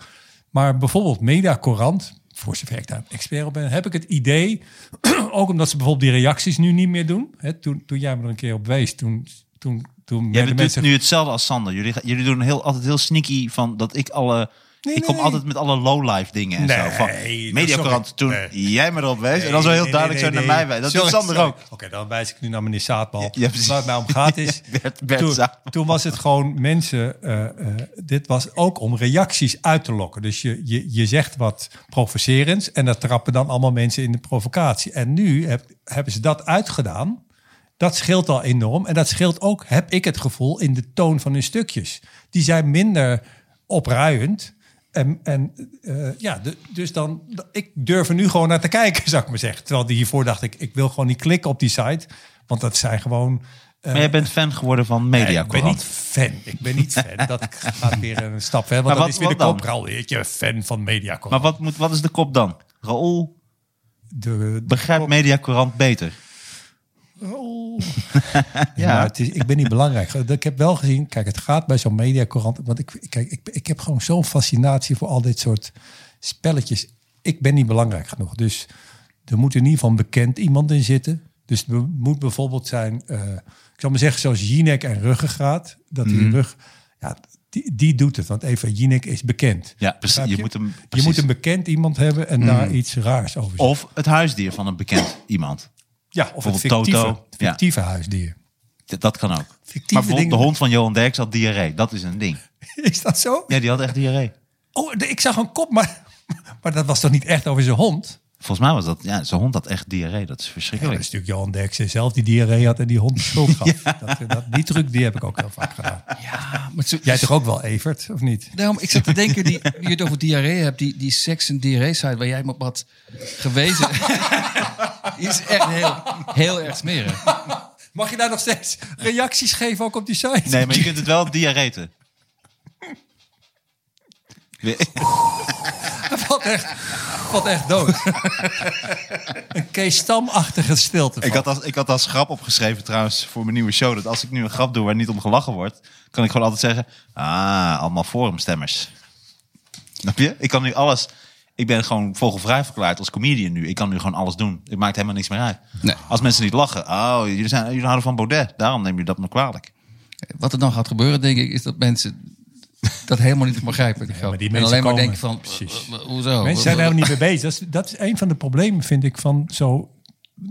[SPEAKER 3] Maar bijvoorbeeld Media Courant, voor zover ik daar een expert op ben, heb ik het idee, *clears throat* ook omdat ze bijvoorbeeld die reacties nu niet meer doen. Hè, toen, toen jij me er een keer op wees, toen, toen, toen
[SPEAKER 2] Jij
[SPEAKER 3] werden
[SPEAKER 2] doet
[SPEAKER 3] mensen
[SPEAKER 2] nu hetzelfde als Sander. Jullie, ga- jullie doen heel, altijd heel sneaky van dat ik alle...
[SPEAKER 3] Nee,
[SPEAKER 2] ik kom
[SPEAKER 3] nee.
[SPEAKER 2] altijd met alle low-life dingen en
[SPEAKER 3] Nee,
[SPEAKER 2] zo. Van
[SPEAKER 3] sorry.
[SPEAKER 2] Mediacorant, toen
[SPEAKER 3] Nee.
[SPEAKER 2] jij me erop wees. en dan zo heel
[SPEAKER 3] Nee, nee,
[SPEAKER 2] duidelijk
[SPEAKER 3] nee,
[SPEAKER 2] zo
[SPEAKER 3] nee,
[SPEAKER 2] naar
[SPEAKER 3] nee.
[SPEAKER 2] mij wijzen. Dat
[SPEAKER 3] Sorry,
[SPEAKER 2] doet Sander
[SPEAKER 3] sorry.
[SPEAKER 2] ook.
[SPEAKER 3] Oké, dan wijs ik nu naar meneer Zaadbal.
[SPEAKER 2] ja, precies.
[SPEAKER 3] Waar het nou
[SPEAKER 2] *laughs*
[SPEAKER 3] om gaat is...
[SPEAKER 2] Ja, Bert- Bert
[SPEAKER 3] toen,
[SPEAKER 2] Zaadbal.
[SPEAKER 3] toen was het gewoon mensen... eh, eh, dit was ook om reacties uit te lokken. Dus je, je, je zegt wat provocerends... en dat trappen dan allemaal mensen in de provocatie. En nu heb, hebben ze dat uitgedaan... Dat scheelt al enorm. En dat scheelt ook, heb ik het gevoel, in de toon van hun stukjes. Die zijn minder opruiend. En, en eh, ja, de- dus dan, ik durf er nu gewoon naar te kijken, zou ik maar zeggen. Terwijl die hiervoor dacht ik, ik wil gewoon niet klikken op die site. Want dat zijn gewoon. eh,
[SPEAKER 2] Maar jij bent fan geworden van
[SPEAKER 3] ik ben
[SPEAKER 2] Mediacorant.
[SPEAKER 3] niet fan. Ik ben niet fan. Dat
[SPEAKER 2] *laughs*
[SPEAKER 3] gaat weer een stap verder. Want
[SPEAKER 2] Maar
[SPEAKER 3] dat
[SPEAKER 2] wat-
[SPEAKER 3] is weer de
[SPEAKER 2] wat dan?
[SPEAKER 3] kopral. Ik ben fan van Mediacorp.
[SPEAKER 2] Maar wat, moet, wat is de kop dan? Raoul
[SPEAKER 3] De- de
[SPEAKER 2] begrijpt Mediacorant beter.
[SPEAKER 3] Oh. *laughs*
[SPEAKER 2] Ja.
[SPEAKER 3] ja, maar het is, ik ben niet belangrijk. Ik heb wel gezien, kijk, het gaat bij zo'n mediacorant. Want ik, kijk, ik, ik heb gewoon zo'n fascinatie voor al dit soort spelletjes. Ik ben niet belangrijk genoeg. Dus er moet in ieder geval een bekend iemand in zitten. Dus er moet bijvoorbeeld zijn, eh, ik zal maar zeggen, zoals Jinek en Ruggengraat. Dat
[SPEAKER 2] Mhm.
[SPEAKER 3] die rug, ja, die, die doet het. Want Eva Jinek is bekend.
[SPEAKER 2] Ja, precies.
[SPEAKER 3] Begrijp
[SPEAKER 2] Je moet hem-
[SPEAKER 3] je
[SPEAKER 2] precies. Mhm.
[SPEAKER 3] moet een bekend iemand hebben en daar iets raars over zeggen.
[SPEAKER 2] Of het huisdier van een bekend iemand.
[SPEAKER 3] Ja, of het
[SPEAKER 2] bijvoorbeeld
[SPEAKER 3] fictieve,
[SPEAKER 2] Toto. Ja.
[SPEAKER 3] fictieve huisdier. *laughs*
[SPEAKER 2] D- Dat kan ook.
[SPEAKER 3] Fictieve
[SPEAKER 2] maar bijvoorbeeld de
[SPEAKER 3] dingen-
[SPEAKER 2] hond van Johan Derks had diarree. Dat is een ding.
[SPEAKER 3] Is dat zo?
[SPEAKER 2] Ja, die had echt diarree.
[SPEAKER 3] Oh, de- ik zag een kop, maar, *laughs* maar dat was toch niet echt over zijn hond?
[SPEAKER 2] Volgens mij was dat... Ja, zijn hond had echt diarree. Dat is
[SPEAKER 3] Ja, dat is
[SPEAKER 2] verschrikkelijk.
[SPEAKER 3] natuurlijk Johan Derksen zelf die diarree had en die hond de schuld gaf. dat, eh, dat, die truc die heb ik ook heel vaak gedaan.
[SPEAKER 4] Ja, maar zo,
[SPEAKER 3] Jij toch ook wel, Evert, of niet?
[SPEAKER 4] Daarom, ik zat te denken, die, die het over diarree hebt, die, die seks- en diarree-site waar jij me op had gewezen, *laughs* die is echt heel, heel erg smerig.
[SPEAKER 3] Mag je daar nog steeds reacties geven ook op *laughs* die site?
[SPEAKER 2] Nee, maar je kunt het wel *laughs* diarreten.
[SPEAKER 3] Wat echt, valt echt dood. een Kees Stam-achtige stilte.
[SPEAKER 2] Ik had, als, ik had als grap opgeschreven trouwens voor mijn nieuwe show... dat als ik nu een grap doe waar niet om gelachen wordt... kan ik gewoon altijd zeggen... Ah, allemaal forumstemmers. Snap je? Ik kan nu alles... Ik ben gewoon vogelvrij verklaard als comedian nu. Ik kan nu gewoon alles doen. Het maakt helemaal niks meer uit.
[SPEAKER 4] Nee.
[SPEAKER 2] Als mensen niet lachen. Oh, jullie, zijn, jullie houden van Baudet. Daarom neem je dat me kwalijk.
[SPEAKER 4] Wat er dan gaat gebeuren, denk ik, is dat mensen dat helemaal niet begrijpen. die grap.
[SPEAKER 3] maar die
[SPEAKER 4] en
[SPEAKER 3] mensen
[SPEAKER 4] alleen maar
[SPEAKER 3] komen.
[SPEAKER 4] denken van,
[SPEAKER 3] Precies.
[SPEAKER 4] eh, eh, hoezo?
[SPEAKER 3] Mensen zijn nou er helemaal niet mee bezig. Dat is, dat is een van de problemen, vind ik, van zo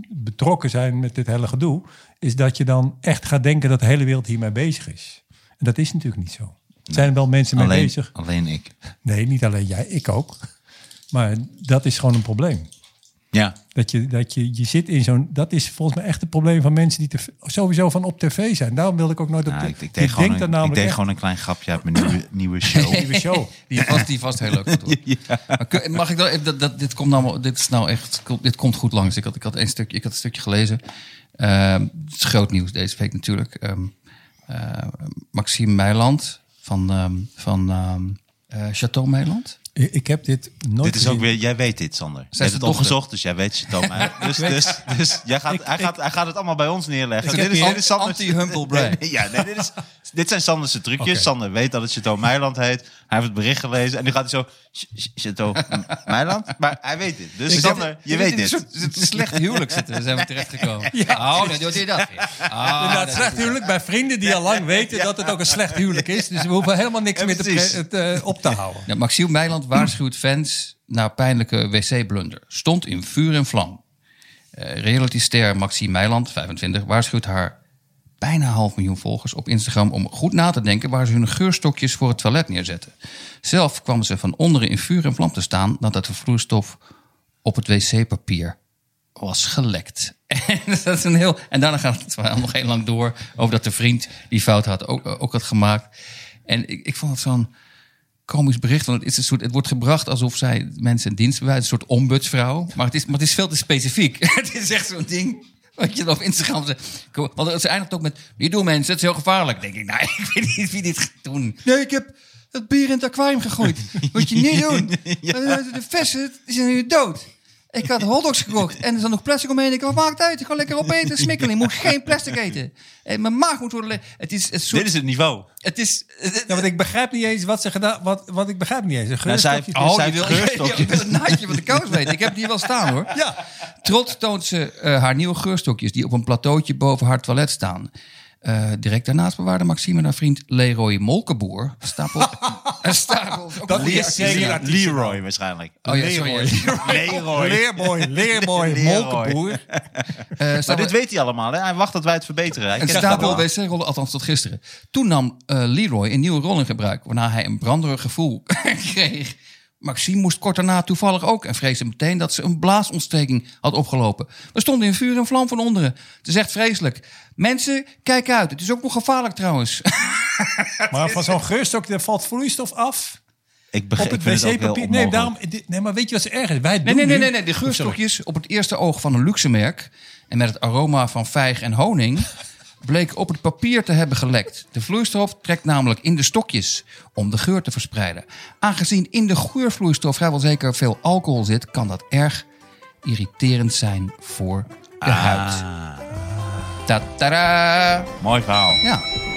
[SPEAKER 3] betrokken zijn met dit hele gedoe. Is dat je dan echt gaat denken dat de hele wereld hiermee bezig is. En dat is natuurlijk niet zo. Er zijn wel mensen mee
[SPEAKER 2] Alleen,
[SPEAKER 3] bezig.
[SPEAKER 2] alleen ik.
[SPEAKER 3] Nee, niet alleen jij, ik ook. Maar dat is gewoon een probleem.
[SPEAKER 2] Ja.
[SPEAKER 3] Dat je, dat je, je zit in zo'n. Dat is volgens mij echt het probleem van mensen die te, sowieso van op tv zijn. Daarom wilde ik ook nooit op
[SPEAKER 2] Nou,
[SPEAKER 3] tv.
[SPEAKER 2] ik, ik deed, gewoon een, ik deed gewoon een klein grapje uit mijn nieuwe, nieuwe
[SPEAKER 3] *laughs*
[SPEAKER 2] show.
[SPEAKER 3] nieuwe show.
[SPEAKER 4] Die vast, die vast *laughs* heel leuk gaat worden. Maar kun- mag ik dan even, dat, dat, dit komt nou, dit is nou echt, dit komt goed langs. Ik had, ik had, een, stukje, ik had een stukje gelezen. Ehm, het is groot nieuws deze week natuurlijk. Ehm eh, Maxime Meiland van, ehm, van ehm, eh, Chateau Meiland.
[SPEAKER 3] Ik, ik heb dit nooit.
[SPEAKER 2] Dit is ook
[SPEAKER 3] gezien.
[SPEAKER 2] weer, jij weet dit, Sander. Je
[SPEAKER 4] zijn
[SPEAKER 2] hebt het
[SPEAKER 4] dochter.
[SPEAKER 2] opgezocht, dus jij weet het dan. maar. Dus, dus, dus jij gaat, hij, gaat, hij gaat het allemaal bij ons neerleggen.
[SPEAKER 4] Ik heb hier anti-humble brain.
[SPEAKER 2] Nee, nee, ja, nee, dit, is, dit zijn Sander's trucjes.
[SPEAKER 3] Oké.
[SPEAKER 2] Sander weet dat het Chateau Meiland heet. Hij heeft het bericht gelezen en nu gaat hij zo... "Ch- ch- Chateau Meiland? Maar hij weet dit. Dus Sander, je weet
[SPEAKER 4] dit.
[SPEAKER 2] dit.
[SPEAKER 4] *laughs* Het slecht huwelijk zitten, daar zijn we terechtgekomen. *laughs* Ja. Oh, dat doet hij dat weer. *laughs* Ah,
[SPEAKER 3] Inderdaad,
[SPEAKER 4] dat-
[SPEAKER 3] slecht huwelijk bij vrienden die al lang weten dat het ook een slecht huwelijk is. Dus we hoeven helemaal niks
[SPEAKER 2] Ja,
[SPEAKER 3] meer te
[SPEAKER 2] precies.
[SPEAKER 3] pre- het, eh, op te houden.
[SPEAKER 4] Ja, Maxime Meiland waarschuwt fans na pijnlijke wc-blunder. Stond in vuur en vlam. Eh Realityster Maxime Meiland, 25, waarschuwt haar bijna half miljoen volgers op Instagram... om goed na te denken waar ze hun geurstokjes voor het toilet neerzetten. Zelf kwam ze van onderen in vuur en vlam te staan... nadat de vloeistof op het wc-papier was gelekt. *laughs* En, dat is een heel, en daarna gaat het verhaal nog heel lang door... over dat de vriend die fout had ook, ook had gemaakt. En ik, ik vond het zo'n komisch bericht. Want het, is een soort, het wordt gebracht alsof zij mensen een dienst bewijzen. Een soort ombudsvrouw. Maar het is, maar het is veel te specifiek. *laughs* het is echt zo'n ding. Wat je dan op Instagram zegt. Kom, Want ze eindigt ook met. Niet doen mensen, het is heel gevaarlijk. Denk ik, nou, *laughs* ik weet niet wie dit gaat doen. Nee, ik heb het bier in het aquarium gegooid. Moet je niet *laughs* doen. Eh, De vissen zijn nu dood. Ik had hotdogs gekocht en er zat nog plastic omheen. Ik dacht, wat maakt het uit? Ik ga lekker opeten, smikkelen. Ik moet geen plastic eten. En mijn maag moet worden... le- Het is een soort...
[SPEAKER 2] Dit is het niveau.
[SPEAKER 4] Het is... het-
[SPEAKER 3] Ja, want ik begrijp niet eens wat ze gedaan... Wat, wat ik begrijp niet eens. Een
[SPEAKER 2] Nou, zij
[SPEAKER 3] geurstokje-
[SPEAKER 2] heeft-
[SPEAKER 4] Oh,
[SPEAKER 2] Zij
[SPEAKER 4] je wil,
[SPEAKER 2] geurstokjes.
[SPEAKER 4] je wil een naadje van de kous weten. Ik heb die wel staan hoor.
[SPEAKER 3] Ja.
[SPEAKER 4] Trots toont ze eh, haar nieuwe geurstokjes die op een plateautje boven haar toilet staan. Eh, direct daarnaast bewaarde Maxime en haar vriend Leroy Molkenboer een stapel.
[SPEAKER 3] *laughs*
[SPEAKER 4] Oh, een stapel. ook
[SPEAKER 3] Dat
[SPEAKER 4] een
[SPEAKER 3] is
[SPEAKER 4] leer-
[SPEAKER 3] zeker
[SPEAKER 2] Leroy,
[SPEAKER 3] een
[SPEAKER 4] leer-
[SPEAKER 3] artiest.
[SPEAKER 2] Leroy waarschijnlijk.
[SPEAKER 4] Oh ja, sorry.
[SPEAKER 2] Leroy.
[SPEAKER 3] Leerboy, leerboy,
[SPEAKER 2] Leerboy.
[SPEAKER 3] molkenboer.
[SPEAKER 4] Eh,
[SPEAKER 2] Maar
[SPEAKER 4] stapel-
[SPEAKER 2] dit weet hij allemaal. Hè? Hij wacht dat wij het verbeteren. Hij
[SPEAKER 4] Een
[SPEAKER 2] kent dat
[SPEAKER 4] stapel
[SPEAKER 2] allemaal.
[SPEAKER 4] wc-rollen, althans tot gisteren. Toen nam eh, Leroy een nieuwe rol in gebruik, waarna hij een branderig gevoel *laughs* kreeg. Maxime moest kort daarna toevallig ook en vreesde meteen dat ze een blaasontsteking had opgelopen. We stonden in vuur en vlam van onderen. Het is echt vreselijk. Mensen, kijk uit. Het is ook nog gevaarlijk trouwens.
[SPEAKER 3] Maar van zo'n geurstokje daar valt vloeistof af.
[SPEAKER 2] Ik
[SPEAKER 3] Op
[SPEAKER 2] begrijp
[SPEAKER 3] het
[SPEAKER 2] ik vind het ook heel
[SPEAKER 3] wc-papier. Nee,
[SPEAKER 2] onmogelijk.
[SPEAKER 3] daarom, dit- nee, maar weet je wat ze erg is? Wij
[SPEAKER 4] Nee,
[SPEAKER 3] doen
[SPEAKER 4] nee, nee,
[SPEAKER 3] nu-
[SPEAKER 4] nee, nee. De geurstokjes op het eerste oog van een luxe merk... en met het aroma van vijg en honing... bleek op het papier te hebben gelekt. De vloeistof trekt namelijk in de stokjes om de geur te verspreiden. Aangezien in de geurvloeistof vrijwel zeker veel alcohol zit... kan dat erg irriterend zijn voor de huid.
[SPEAKER 2] Ah,
[SPEAKER 4] Ta-tada!
[SPEAKER 2] mooi verhaal.
[SPEAKER 4] Ja.